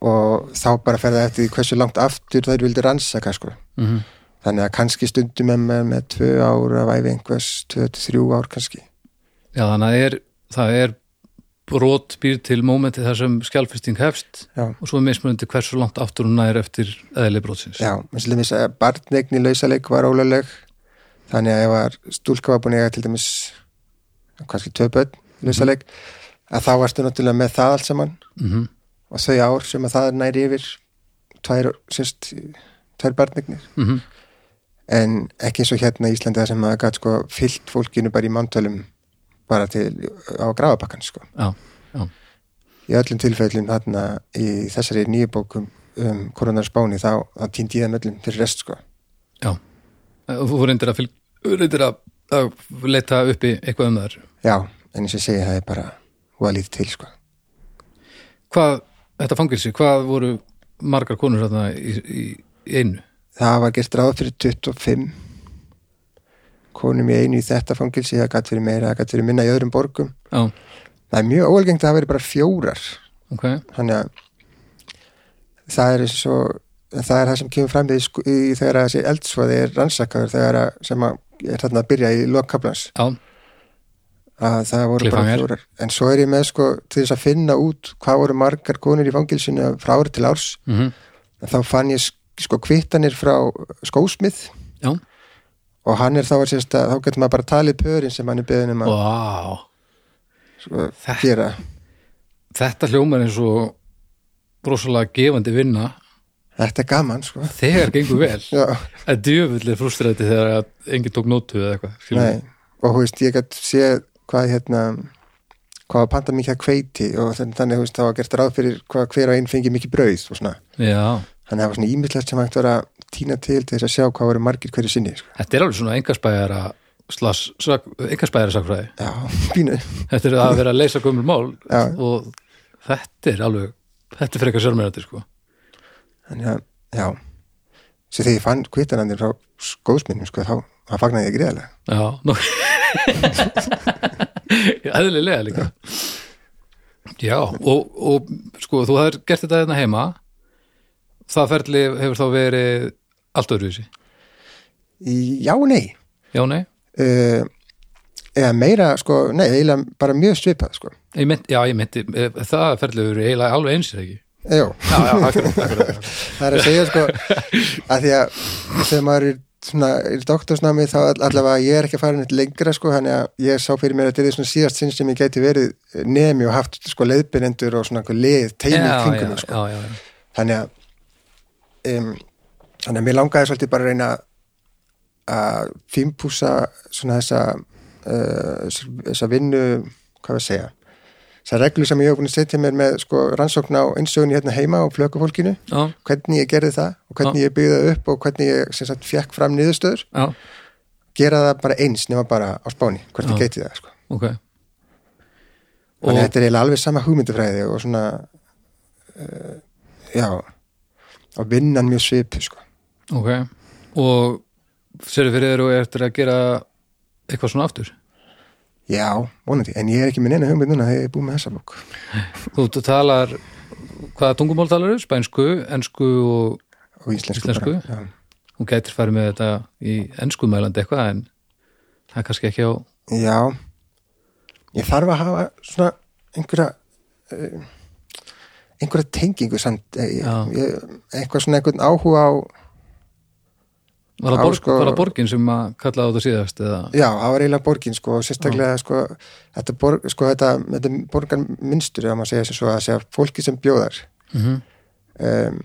og þá bara fer það eftir því hversu langt aftur þær vildi rannsaka sko.
Mm -hmm.
þannig að kannski stundum er maður með tvö ár af æfi einhvers, tvö til þrjú ár kannski
Já, þannig að er, það er brot býr til mómenti þar sem skjálfesting hefst
já,
og svo er mismunandi hversu langt aftur hún nær eftir eðli brotsins.
já, eins og til dæmis að barnegni lausaleik var ólega þannig að ef var stúlka var búin að eiga til dæmis kannski tvö börn lausaleik, að þá varstu náttúrulega með það allt saman
Mm
og þau ár sem að það næri yfir tvær, sérst, tvær barnignir
Mhm.
en ekki eins og hérna í Íslandi þar sem að gæt sko fyllt fólkinu bara í mántölum bara til á grafabakkan sko.
Já, já.
í öllum tilfellum þarna í þessari nýju bókum um koronarspáni þá, þá týndi ég þeim öllum fyrir rest sko.
Já, Eh, og þú reyndir að, fylg, reyndir að, að leita uppi eitthvað um þar.
já, en eins og ég segi það er bara hvað lítið til sko.
Hvað, þetta fangilsi, hvað voru margar konur þarna í, í, í einu?
það var gert ráð fyrir 25 konum í einu í þetta fangilsi það gæt fyrir meira, það gæt fyrir minna í öðrum borgum
Já,
það er mjög óalgengt að það veri bara fjórar
ok,
þannig að það er svo það er það sem kemur fram í, sku- í þegar að þessi eldsvoði er rannsakaður þegar að sem að er þarna að byrja í lokkablans
já,
að það voru bara
Cliffhanger.
fjórar en svo er ég með sko til þess að finna út hvað voru margar konur í fangilsinu frá ári til árs
mm
en þá fann ég sk- sko kvittanir frá skósmið
já,
og hann er þá að sérst að þá getur maður bara talið pörin sem hann er beðin um
vá,
að sko, gera
þetta hljómar eins og rosalega gefandi vinna
þetta er gaman sko
þegar gengur vel.
*laughs* Já,
Það djöfull er frústræti þegar að enginn tók nótu eða eitthvað. skilur við.
nei, og þú veist ég gætt séð hvað hérna hvað panta mikið að kveiti og þann- þannig þú veist, þá var gert ráð fyrir hvað hver og einn fengi mikið brauð og svona
Já,
þannig að það var svona ímislegt sem hægt var að tína til til þess að sjá hvað eru margir hverju sinni sko.
Þetta er alveg svona engasbæjara slags, engasbæjara sakfræði
Já, *laughs* pínu
Þetta er að vera að leysa gömul mál
Já.
og þetta er alveg þetta er frekar sjálfmennandi sko
Þannig að, já Svo þegar ég fann kvittanandir frá skóðsminnum sko, þá, þá fagnaði ég greiðlega
Já, nú *laughs* Æðlilega líka Já, og, og sko, þú hafðir gert þetta hérna heima það ferli hefur þá verið allt öðruvísi,
Já, og nei
já nei
uh, Eða meira, sko, nei, eiginlega bara mjög svipað, sko
ég mynd, Já, ég myndi, eh, það ferli hefur verið eiginlega alveg eins er það ekki
Jó,
Já, já, akkurat,
*laughs*
akkurat
Eh, það er að segja, sko að því að þegar maður er svona, er í doktorsnámi þá all- allavega ég er ekki að fara neitt lengra, sko þannig að ég sá fyrir mér að þetta er svona síðast sinn sem ég gæti verið nemi og haft, sko, leiðbyrjendur og svona einhver leið, teimi í
já, já,
kringum mig, sko.
já, já, já.
þannig að um, þannig að mér langaði svolítið bara að reyna að fínpúsa svona þessa uh, þessa vinnu, hvað var að segja þessa reglu sem ég hef búin að setja mér með sko rannsókn á einsögunni hérna heima og flökufólkinu,
Já,
hvernig ég gerði það og hvernig ég byggði það upp og hvernig ég sem sagt fekk fram niðurstöður,
já,
gera það bara eins nema bara á spáni, hvernig
Já.
ég geti það sko.
ok
þannig
Og,
að þetta er eiginlega alveg sama hugmyndafræði og svona uh, já og vinnan mjög svip sko
ok og serið fyrir þér og eftir að gera eitthvað svona aftur
Já, vonandi, en ég er ekki með neina hugmynd núna þegar ég er búið með þessa bók.
Þú þú talar, hvaða tungumál talar þau? Spænsku, ensku og
Og íslensku,
Íslensku?
bara.
hún gætir farið með þetta í enskumælandi eitthvað en það er kannski ekki á
Já. Já, ég þarf að hafa svona einhverja uh, einhverja tengingu samt, eh, ég,
Já.
ég, eitthvað svona einhvern áhuga á,
Var það,
Já,
borg,
sko-
var það borgin sem að kallaði á þetta síðast eða?
já, það var eiginlega borgin sko, og sérstaklega sko, þetta, borg, sko, þetta, þetta borgar minnstur að maður segja sér svo að segja fólki sem bjóðar
Mm
Mhm. um,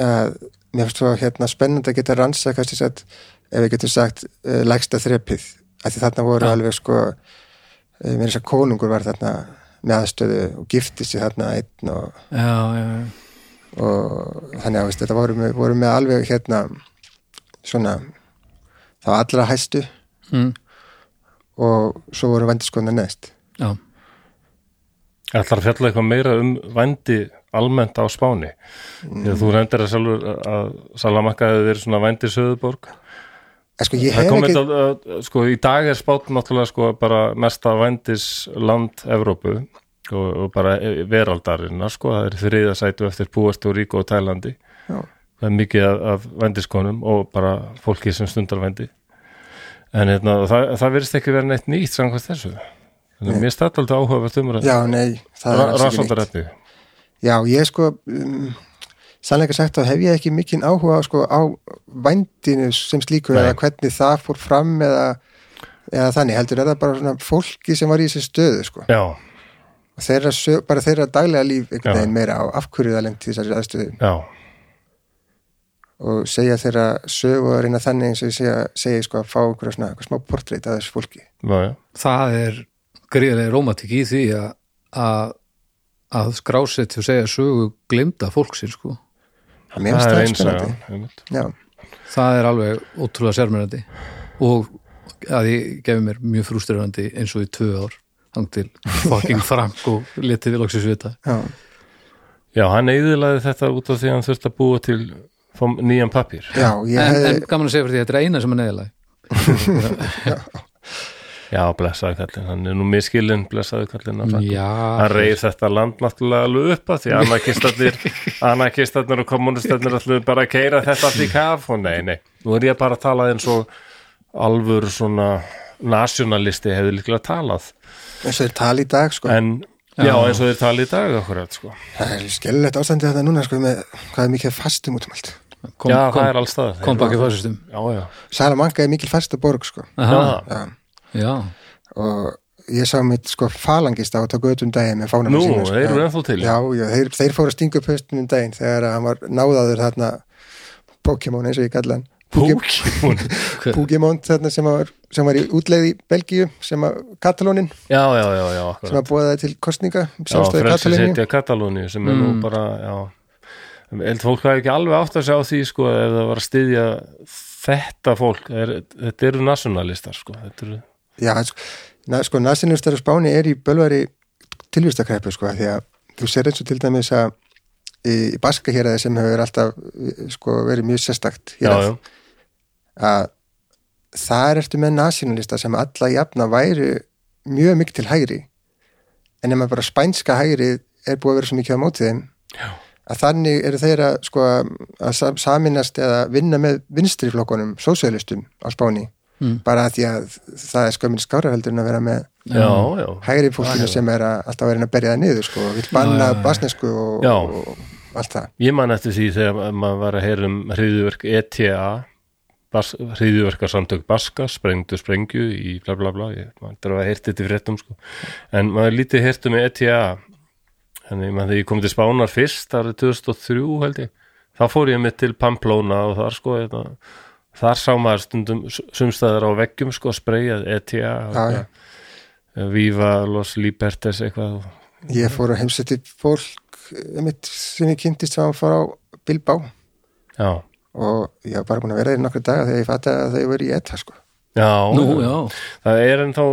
að mér finnst svo hérna spennandi að geta rannsakast þess að ef við getum sagt uh, lægsta þrepið, af því þarna voru alveg sko, uh, mér þess að konungur var þarna með aðstöðu og gifti sig þarna einn og,
Já, já, já,
og þannig að veist, þetta voru með, voru með alveg hérna svona þá allra hæstu
mm,
og svo voru vendiskona neðst
já.
Það ætlar að fjalla eitthvað meira um vændi almennt á Spáni þegar þú nefndir að, sjálfur, að Salamanca hefði verið svona vændi söðuborg
en sko ég
það
hef
kom
ekki
eitthvað, uh, sko í dag er Spán náttúrulega sko bara mesta vændis land Evrópu og, og bara e- veraldarinnar sko það er þriðasætu eftir Púastó Ríko og Tælandi
Já.
það er mikið af, af vændiskonum og bara fólki sem stundar vændi en hérna, það, það verðist ekki vera neitt nýtt samkvæmt þessu þannig að mér stætt aldrei áhugavert um
já, nei, það er alls ekki neitt.
rannsóndarætti
Já, ég sko um, sannleika sagt þá hef ég ekki mikinn áhuga á, sko, á vændinu sem slíkur
Nei.
eða hvernig það fór fram eða, eða þannig, heldur er það bara svona fólki sem var í þessi stöðu sko.
Já,
og þeirra, sö- bara þeirra daglega líf einhvern
Já.
veginn meira á af hverju það lendi þessari aðstöðu
já,
og segja þeirra sögu og reyna þannig eins og ég segja, segja sko, að fá einhverja svona einhver smá portrétt af þessu fólki
já, já.
Það er gríðlega rómatík í því að, að, að skrásett og segja sögu glimta fólksinn sko.
það mér finnst það
eins að
spennandi. Já,
Það er alveg ótrúlega sérmennandi og að ég gefi mér mjög frústrerandi eins og í tvö ár hang til
*laughs*
fucking frank og letið við loksins við þetta
já,
já, hann eyðilaði þetta út af því að hann þurfti að búa til fá nýjan pappír
já, ég
en,
hefði
en gaman að segja fyrir því að þetta er eina sem er neðalæg
Já, blessaði kallinn, hann er nú miskilinn blessaði kallinn að það
Já,
Hann reyð þetta land náttúrulega alveg upp að því
*laughs*
anarkistarnir, anarkistarnir og kommunistarnir ætluðu bara að keira þetta allt í kaf og nei, nei, nú er ég bara að tala eins og alvöru svona nasjonalisti hefði líklega talað
eins og þeir tala í dag sko.
en já, eins og þeir tala í dag akkurat, sko.
það er skellilegt ástandið þetta núna sko, með hvað er mikið fastum út um allt
kom,
já,
kom,
það er allstað
kom baki fórsistum
Já, já,
Salamanca er mikil fasta borg sko
já,
já.
Já,
og ég sá mitt sko falangist á að taka ötum daginn með fánanum
Nú,
sínum, sko.
þeir eru ennþá til.
já, já, þeir, þeir fóru að stinga upp höstum um daginn þegar að hann var náðaður þarna Pokémon eins og ég kalla hann
Pokémon
Pokémon þarna sem var, sem var í útleið í Belgíu sem að Katalónin
Já, já, já, já, akkurat
sem að búa það til kostninga
Já,
sjálfstæði
frelsi
Katalóni
Mm. setja Katalóni sem er nú bara, já held fólk hafi ekki alveg átt að sjá því sko ef það var að styðja þetta fólk, er, þetta eru nasjonalistar sko, þetta eru
Já, sko, na, sko nasinustar á Spáni er í bölvari tilvistakreppu sko, því að þú sér eins og til dæmis að í, í Baska hér að sem hefur alltaf sko, verið mjög sérstakt hér
já, já,
að þar ertu með nasinalista sem alla jafna væru mjög mikið til hægri en ef maður bara spænska hægri er búið að vera svo mikið á móti þeim
Já.
að þannig eru þeir að, sko, að sa- saminast eða vinna með vinstriflokkunum, sósíalistum á Spáni
Hmm.
Mm.
bara að því að það er skömmin skáraveldur en að vera með
já, já,
hægri fólkinu sem er að, alltaf að vera að berja það niður sko, vill banna basnesku og,
Já.
og allt það
ég man eftir því þegar maður var að heyra um hriðuverk ETA bas, hriðuverkarsamtök Baska, sprengdu sprengju í bla bla bla, ég man þarf að heyrta þetta í fréttum sko, en maður lítið heyrt um ETA þannig maður þegar ég kom til Spánar fyrst árið 2003 held ég, þá fór ég mitt til Pamplona og þar sko þetta, þar sá maður stundum sumstæðar á veggjum sko spreyjað ETA og
Já,
eitthvað, hérna, Viva Los Libertes eitthvað og
ég fór að heimsætti fólk einmitt, sem ég kynntist þegar hann fór á Bilbá
já,
og ég var bara búin að vera þeir nokkra daga þegar ég fatt að þau voru í etta sko.
já,
Nú, já,
það er ennþá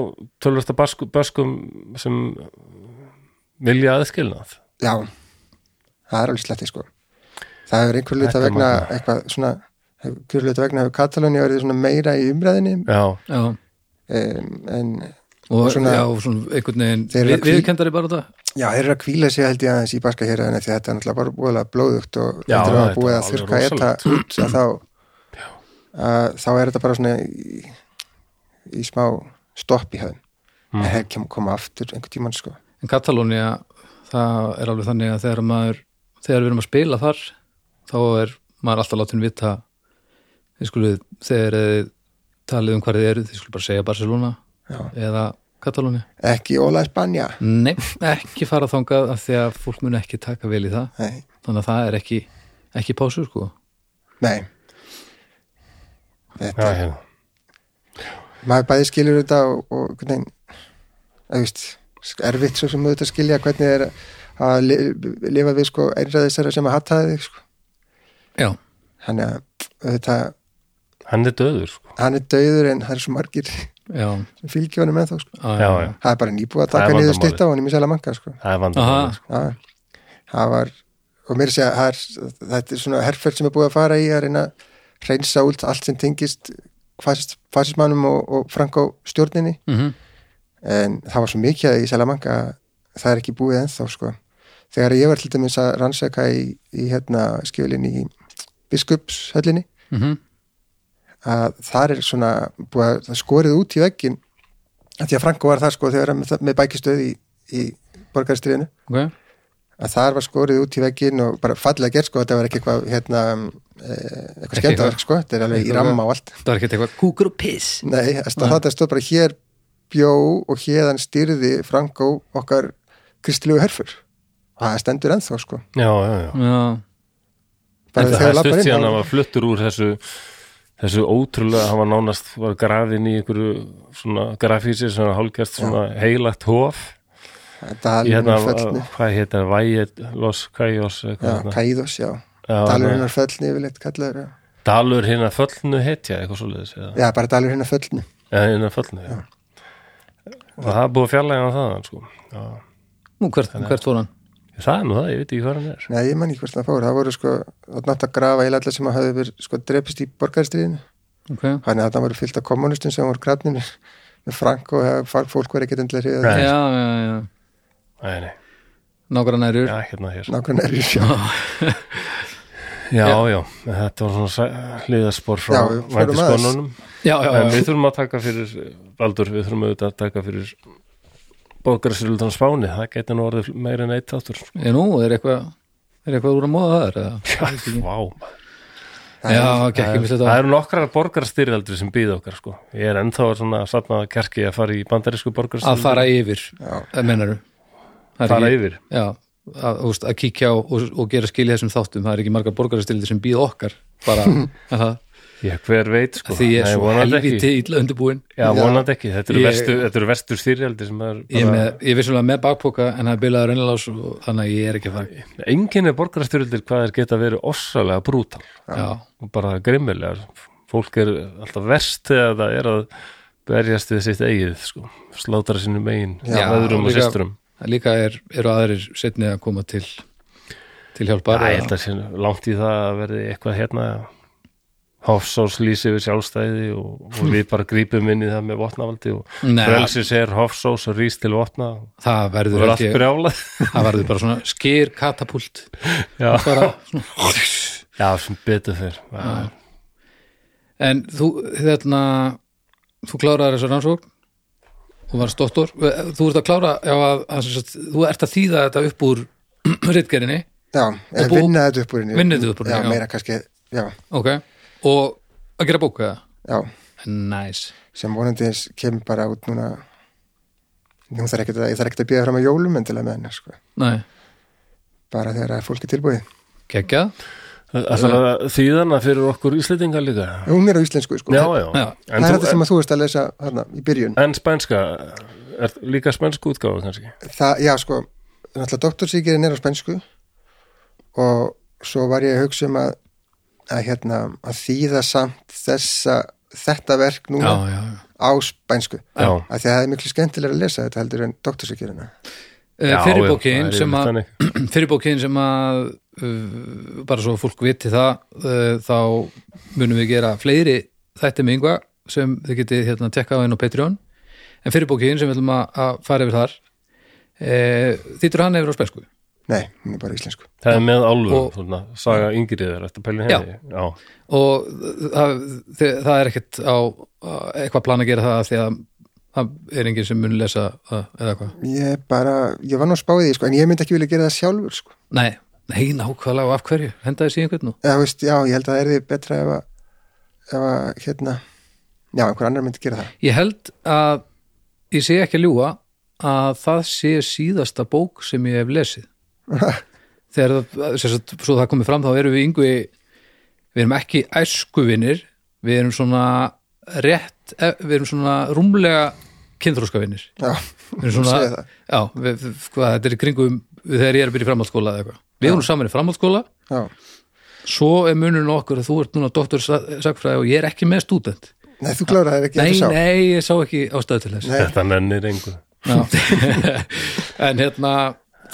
tölvösta basku, baskum sem vilja aðskilnað
já, það er alveg sletti sko. það hefur einhver
Þetta
luta
er
vegna
magnað.
eitthvað svona einhver luta vegna hefur Katalóni verið svona meira í umræðinni
já,
já
um, en
og
Og svona-
já, og svona einhvern veginn
Þeir eru
við,
að hví-
viðkendari bara það
já, þeir eru að kvíla sig held ég aðeins í baska hér því þetta er náttúrulega bara búiðlega blóðugt og
Já,
þetta er að
þetta
búið að
var alveg
þurka etta út að þá að, þá er þetta bara svona í, í smá stopp í höfn en þeir kem- koma aftur einhvern tímann sko
en Katalónia, það er alveg þannig að þegar maður, þegar við erum að spila þar þá er maður alltaf látin vita þið skulu, þegar þið talið um hvað þið eru, þið skulu bara segja Barcelona
Já.
eða Katalónia
ekki Óla Spanja
Nei, ekki fara þangað af því að fólk mun ekki taka vel í það
nei,
þannig að það er ekki, ekki pásu sko.
nei. Þetta,
já, hérna.
maður bæði skilur þetta og, og hvernig að veist, erfitt svo sem auðvitað skilja hvernig er að li- lifa við sko einræð þessara sem að hataði þig sko.
Já,
hann er auðvitað
hann er döður sko.
hann er dauður en það er svo margir
já,
sem fylgja honum ennþá sko.
á,
já, já,
það er bara nýbúið að
Það er
taka niður
vandamálið.
stýtt á honum í Salamanca sko.
það er
Aha.
vandamálið sko.
Já, það var og mér sé að það er, þetta er svona herrferð sem er búið að fara í að reyna að reynsa út allt sem tengist fasist, fasismannum og, og Frankó stjórninni
Mhm.
en það var svo mikið að í Salamanca að það er ekki búið ennþá sko. þegar ég var til dæmis að rannsaka í, í hérna skjölinni í biskupshöllinni
Mhm.
að þar er svona búið að það er skorið út í veggin af því að Frankó var það sko þegar með, með bækistöð í, í borgarstriðinu
ok
að þar var skorið út í veggin og bara fallega gert sko, þetta var ekki eitthvað hérna, eh, eitthvað
Ekki
skemmtaverk sko, þetta er alveg í
eitthvað-
ramma og
*laughs*
allt
það er ekki eitthvað kúkur og piss
nei, það þetta stóð bara hér bjó og hérðan styrði Frankó okkar kristilegu herfur og það stendur ennþá sko
já, já, já
já,
bara
En það
þegar þú
er
lappar
stutt
inn
síðan að hann
þá-
var fluttur úr þessu þessu ótrúlega, hann var nánast var grafin í einhverju svona grafísi sem var hálfgjast svona heilagt hof í
dalurinn
hérna,
er fellni
hvað heit það, Væjet Los Kajos
já,
hérna.
Kæðos, já,
Já,
dalurinn
nei.
er fellni yfirleitt kallaður, já.
Dalur hérna föllnu hetja eitthvað svoleiðis eða
já, bara dalurinn er fellni
Já, innan fallinu, já. Og það er búið að fjarlæga hann þaðan, sko. Já.
nú hvert, hvert fór hann
Það er nú það, ég veit ekki hvað hann er.
nei, ég man ekki hvert það fór, það voru sko það nátt að grafa í allar sem að hafa verið sko drepist í borgarstríðinu
okay.
þannig að það voru fyllt af kommunistum sem voru krafnir með Frank og það- fólk- fólk verið ekkert endilega hrifið
Nei.
já, já, já,
Nei, nei,
nákvæmna erur
já, hérna hér.
nákvæmlega erjur já,
Já, já, en þetta var svona hliðarspor frá
Já, við förum
vændiskonunum.
já, já,
En
já,
við þurfum að taka fyrir, Baldur, við þurfum auðvitað að taka fyrir borgarsýrlutan spáni. Það geti nú orðið meira en eitt þáttur. sko.
já nú er eitthvað er eitthvað úr að móða þar eða?
Vá, maður.
já, ekki ekki mislið
það
það
eru nokkrar borgarstyrjaldur sem býða okkar, sko. Ég er ennþá svona satnaða kerki að fara í bandarísku
að
borgarstyrjaldur.
fara yfir,
Já.
mennaru
Fara yfir.
já, að, þú veist, að
*laughs*
kíkja á, og, og gera skil í þessum þáttum það er ekki margar borgaristildi sem býð okkar bara að það
Já, hver veit sko
því ég er
Nei,
svo
vonandi
helviti illa undirbúin
Já, vonandi ekki, þetta eru
Ég-
verstu, þetta eru verstu styrjaldi sem er
ég, er með, ég er vissulega með bakpoka en það er bilaður einlás og þannig að ég er ekki að fara
enginni borgarastyrjaldir hvað er geta verið ossalega brútal
já,
og bara grimmilegar fólk er alltaf verst þegar það er að berjast við sitt eigið sko, slátara sínum eigin
Já,
veðrum og
líka-
sýstrum
líka er, eru aðrir setni að koma til til hjálpar
Það
eða-
er þetta sín langt í það að verði eitthvað hérna Hofsós lýsi við sjálfstæði og,
*laughs*
og við bara grípum inn í það með vopnavaldi og
Nei,
frelsi segir Hofsós og rýst til vopna og
það
það
verður
er allt
ekki
brjálað
það verður bara svona skýr katapult
Já,
bara svona
*laughs* já sem betur fyrr Já,
En þú, þérna, þú kláraðar þessu rannsókn og varst doktor. Þú ert að klára, já, að, að, sem sagt, þú ert að þýða þetta upp úr *clears throat* ritgerinni,
já,
Og
eh,
bú-
vinna þetta upp úr henni
Vinna þetta upp úr henni,
já,
já.
meira kannski, já,
ok, og að gera bóka það.
já
Næs.
sem vonandi eins kemur bara út núna nú þarf ekkert að, ég þarf ekkert að býða fram að jólum en til að með henni, sko
Næ,
bara þegar að fólk er tilbúið
geggjað.
Það er þýðana fyrir okkur Íslendinga líka
hún er á íslensku, sko
Já, já,
Já.
En,
það er
þú,
þetta sem að þú veist að lesa hana, í byrjun
en spænska er líka spænsku útgáfa kannski
það, já sko, náttúrulega doktorsíkirinn er á spænsku og svo var ég að hugsa um að að hérna, að þýða samt þessa, þetta verk
Já,
núna
já, já.
á spænsku
Já.
að því að það er miklu skemmtilega að lesa þetta heldur en doktorsíkirinn
Eh,
Já, já, það
Fyrirbókin
er
sem
yfirleitt
að
þannig.
fyrirbókin sem að uh, bara svo fólk viti það uh, þá munum við gera fleiri þætti með yngva sem þið getið hérna tekkað á inn á Patreon en fyrirbókin sem við ætlum að, að fara yfir þar uh, þýttur hann yfir á spesku
nei, hún er bara íslensku
Það er með álfum,
Og-
svona, saga yngriðar eftir pæli henni, já,
og það, þið, það er ekkert á á eitthvað plan að gera það af því að það er enginn sem mun lesa það eða hvað
ég bara, ég var nú að spáði því sko en ég myndi ekki vilja gera það sjálfur sko
nei, nei, nákvæmlega og af hverju hendaði síðan hvernig
eða þú veist, já, ég held að það er því betra ef að, ef að hérna já, einhver annar myndi gera það
Ég held að ég sé ekki að ljúga að það sé síðasta bók sem ég hef
*laughs*
lesið þegar það, sem sagt, svo það komið fram þá erum við yngvi við erum ekki æskuvinir við erum svona rétt eh, við erum svona rúmlega kynþróskavinir
já,
við erum
Þú segir
svona,
það.
já, við, við- hvað, þetta er í kringum þegar ég er að byrja í framhaldsskóla eða eitthvað við erum saman í framhaldsskóla,
já,
svo er munurinn á okkur að þú ert núna doktorsakfræði og ég er ekki með stúdent
nei, þú kláraði það ekki
nei,
eftir sá.
nei, ég sá ekki ástæðu til þess
Nei.
þetta nennir engu.
Já. *laughs* en hérna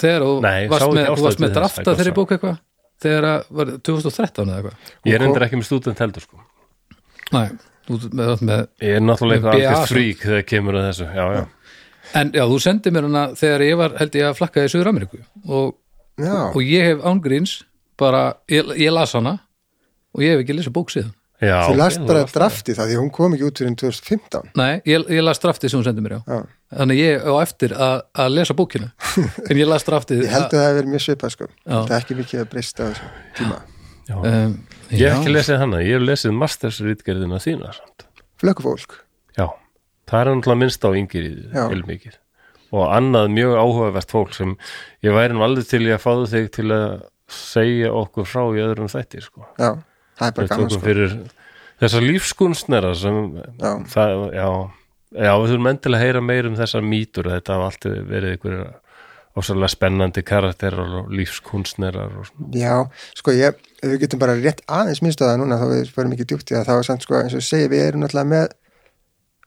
þegar þú
Nei, sá
varst
ekki
með,
ástæðu
þú varst
til
með
þess,
drafta
það er
þeirri
gott
bók eitthvað þegar að var 2013 eða eitthvað
Ég er endur ekki með stúdent heldur, sko.
Nei, þú ert með, með
Ég er náttúrulega
Með
eitthvað
BA,
algjörð
sko.
frík þegar kemur að þessu, já, já.
en já, þú sendir mér hana þegar ég var held ég að flakka í Suður Ameríku og,
já,
og ég hef ángríns bara, ég, ég las hana og ég hef ekki lesið bók síðan
já
þú
ok,
last bara
varst-
drafti það því að hún kom ekki út fyrir 2015
Nei, ég, ég las draftið sem hún sendir mér á
já,
þannig ég á eftir að, að lesa
*laughs*
bókina en ég las draftið
ég held að það hefur verið mjög svipað sko
Já.
það er ekki mikið að breysta á þessum tíma
Já.
um,
Ég hef ekki lesið hana, ég hef lesið mastersritgerðina þína samt.
flökkufólk,
Já, það er náttúrulega minnst á yngriðið,
Já.
heilmikið. Og annað mjög áhugavert fólk sem ég væri nú aldrei til í að fáðu þig til að segja okkur frá í öðrum þætti, sko.
já, það er bara
Við
gaman
tókum
sko
fyrir þessa lífskunstnera sem,
Já.
það, já, já, við þurfum endilega að heyra meir um þessar mýtur, þetta hafa allt verið einhverjir ósæðlega spennandi karakterar og lífskunstnerar og svona.
já, sko ég, ef við getum bara rétt aðeins minnst á það núna þá við förum ekki djúpt í það þá er samt sko, eins og ég segi, við erum náttúrulega með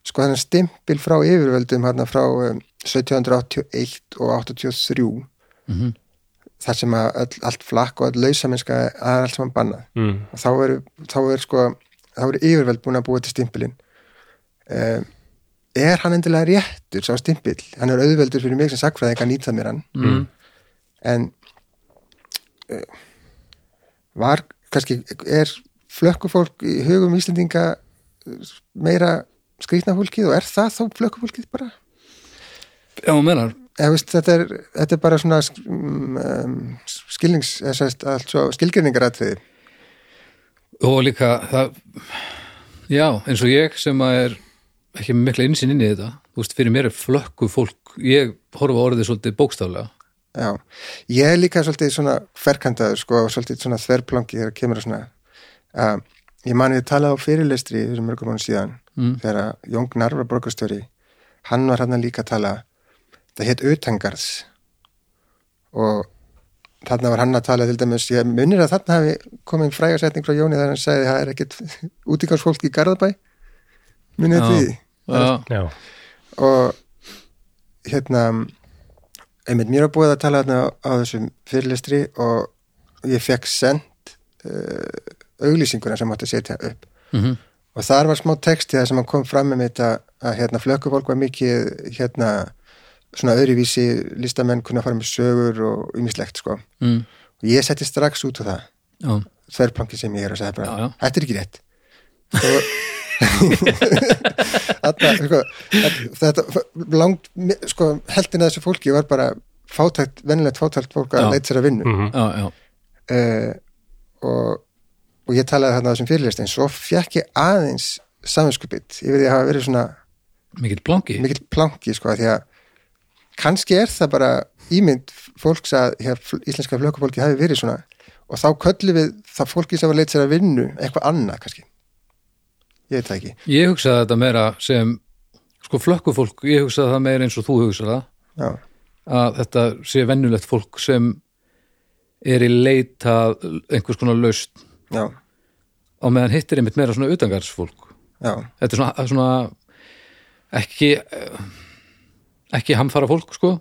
sko þennan stimpil frá yfirvöldum hérna frá um, 1781 og 83
Mhm.
þar sem að öll, allt flakk og öll lausaminska er allt saman bannað
Mm.
og þá eru, þá er sko þá eru yfirveld búin að búa til stimpilinn um, er hann endilega réttur sá stimpil, hann er auðveldur fyrir mig sem sakfræðing að nýta mér hann
Mm.
en uh, var kannski, er flökkufólk í hugum Íslendinga eh, meira skrýtna fólkið og er það þá flökkufólkið bara?
Já, hún menar
Eða, veist, þetta, er, þetta er bara svona sk- mm, um, skilnings, eða sérst, svo, skilgjörningaratriði
og líka það, já, eins og ég sem að er ekki með mikla innsinn inn í þetta þú veist, fyrir mér er flökku fólk ég horfa á orðið svolítið bókstaflega
Já, ég er líka svolítið svona ferkantaður sko og svolítið svona þverplangi þegar kemur að svona uh, ég man ég talaði á fyrirlestri þessum mörgum mánu síðan
Mm.
þegar að Jón Gnarfa borgastöri hann var hann líka að tala það hétt Utangarðs og þarna var hann að tala til dæmis, ég munir að þarna hafi komið frægarsetning frá Jóni þegar hann sagði það er *laughs* ekkit útíkarsfólk í Garðabæ munið
Já.
því
já,
já,
og hérna einmitt mér var búið að tala þarna á þessum fyrirlestri og ég fekk sendt uh, auglýsinguna sem átti að setja upp
mhm,
og þar var smá texti það sem hann kom fram með þetta að hérna flökkufólk var mikið hérna svona öðruvísi listamenn kunna fara með sögur og ymmislegt sko og
mm,
ég setti strax út á það
já,
þverplanki sem ég er og sagði bara
Já, já.
þetta er ekki rétt *laughs* og þetta, sko, þetta langt, sko, heldin að þessu fólki var bara fátækt, venilegt fátækt fólk
Já. Mm.
að leita sér að vinnu
mhm,
já, já
uh, og, og ég talaði þarna á þessum fyrirlistin, svo fekk ég aðeins saminskupið, ég veit ég hafa verið svona
mikill blanki,
mikill planki, sko, af því að kannski er það bara ímynd fólks að hér, íslenska flökkufólki hafi verið svona og þá köllum við það fólki sem var leitt sér að vinnu eitthvað annað kannski ég veit það ekki
ég hugsaði þetta meira sem sko flökkufólk, ég hugsaði það meira eins og þú hugsaði það
Já.
að þetta sé vennulegt fólk sem er í leita einhvers konar laust
Já,
á meðan hittir einmitt meira svona utangarsfólk
já,
þetta er svona, svona ekki eh, ekki hamfara fólk sko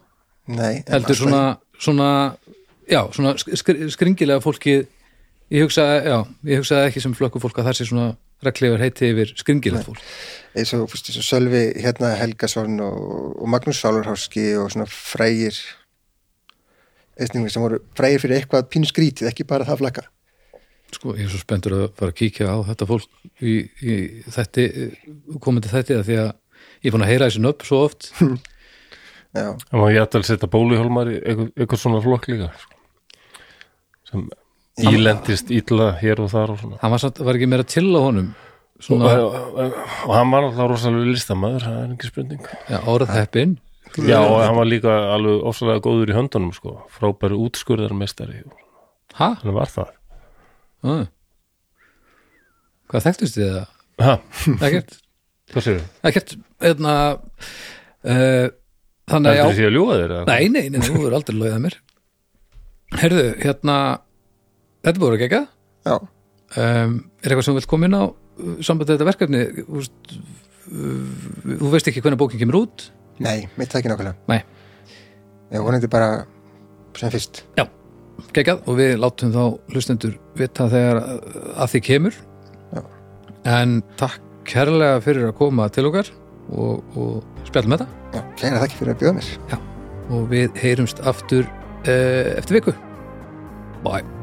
nei en
heldur
alltaf-
svona, svona já, svona skr skringilega fólkið ég hugsaði, já, ég hugsaði ekki sem flökku fólk að það sé svona reglifar heiti yfir skringilega fólk
eins og fyrst, eins og Sölvi hérna Helgason og, og Magnús Sálurháski og svona frægir einstaklingar sem voru frægir fyrir eitthvað pínu skrítið, ekki bara það flakka
sko, ég er svo spenntur að fara að kíkja á þetta fólk í, í þetta komandi þetta því að ég er búin að heyra þessi nöpp svo oft
Já,
það má ég ætla að setja bóluhjálmar í eitthvað, eitthvað svona flokk líka sko. sem ílendist illa hér og þar og svona
hann var, samt, var ekki meira til á honum
og,
svona,
og, og hann var alltaf rosalega listamaður það er ekki spurning
já, árað heppin
já og hann var líka alveg ofsalega góður í höndunum sko, frábæri útskurðarmestari
ha?
hann var það
Ah. Hvað þekktust þið það?
ha,
Ekkert,
hvað séu,
ekkert eðna, uh,
heldur
Þannig að já
því að ljúga þér eða?
Nei, nei, nei, nei, þú verður aldrei lögðið að mér Herðu, hérna Þetta búið að gegga
já,
um, Er eitthvað sem þú vilt koma inn á sambandið þetta verkefni Þú veist, uh, þú veist ekki hvernig bókin kemur út
nei, mitt það ekki nákvæmlega
Nei,
ég vonandi bara sem fyrst
já, geggjað og við látum þá hlustendur vita þegar uh, að því kemur
Já.
En takk kærlega fyrir að koma til okkar og, og spjallum þetta
Já, kæra þakki fyrir að bjóða mér
Já, og við heyrumst aftur uh, eftir viku. eh, Bye.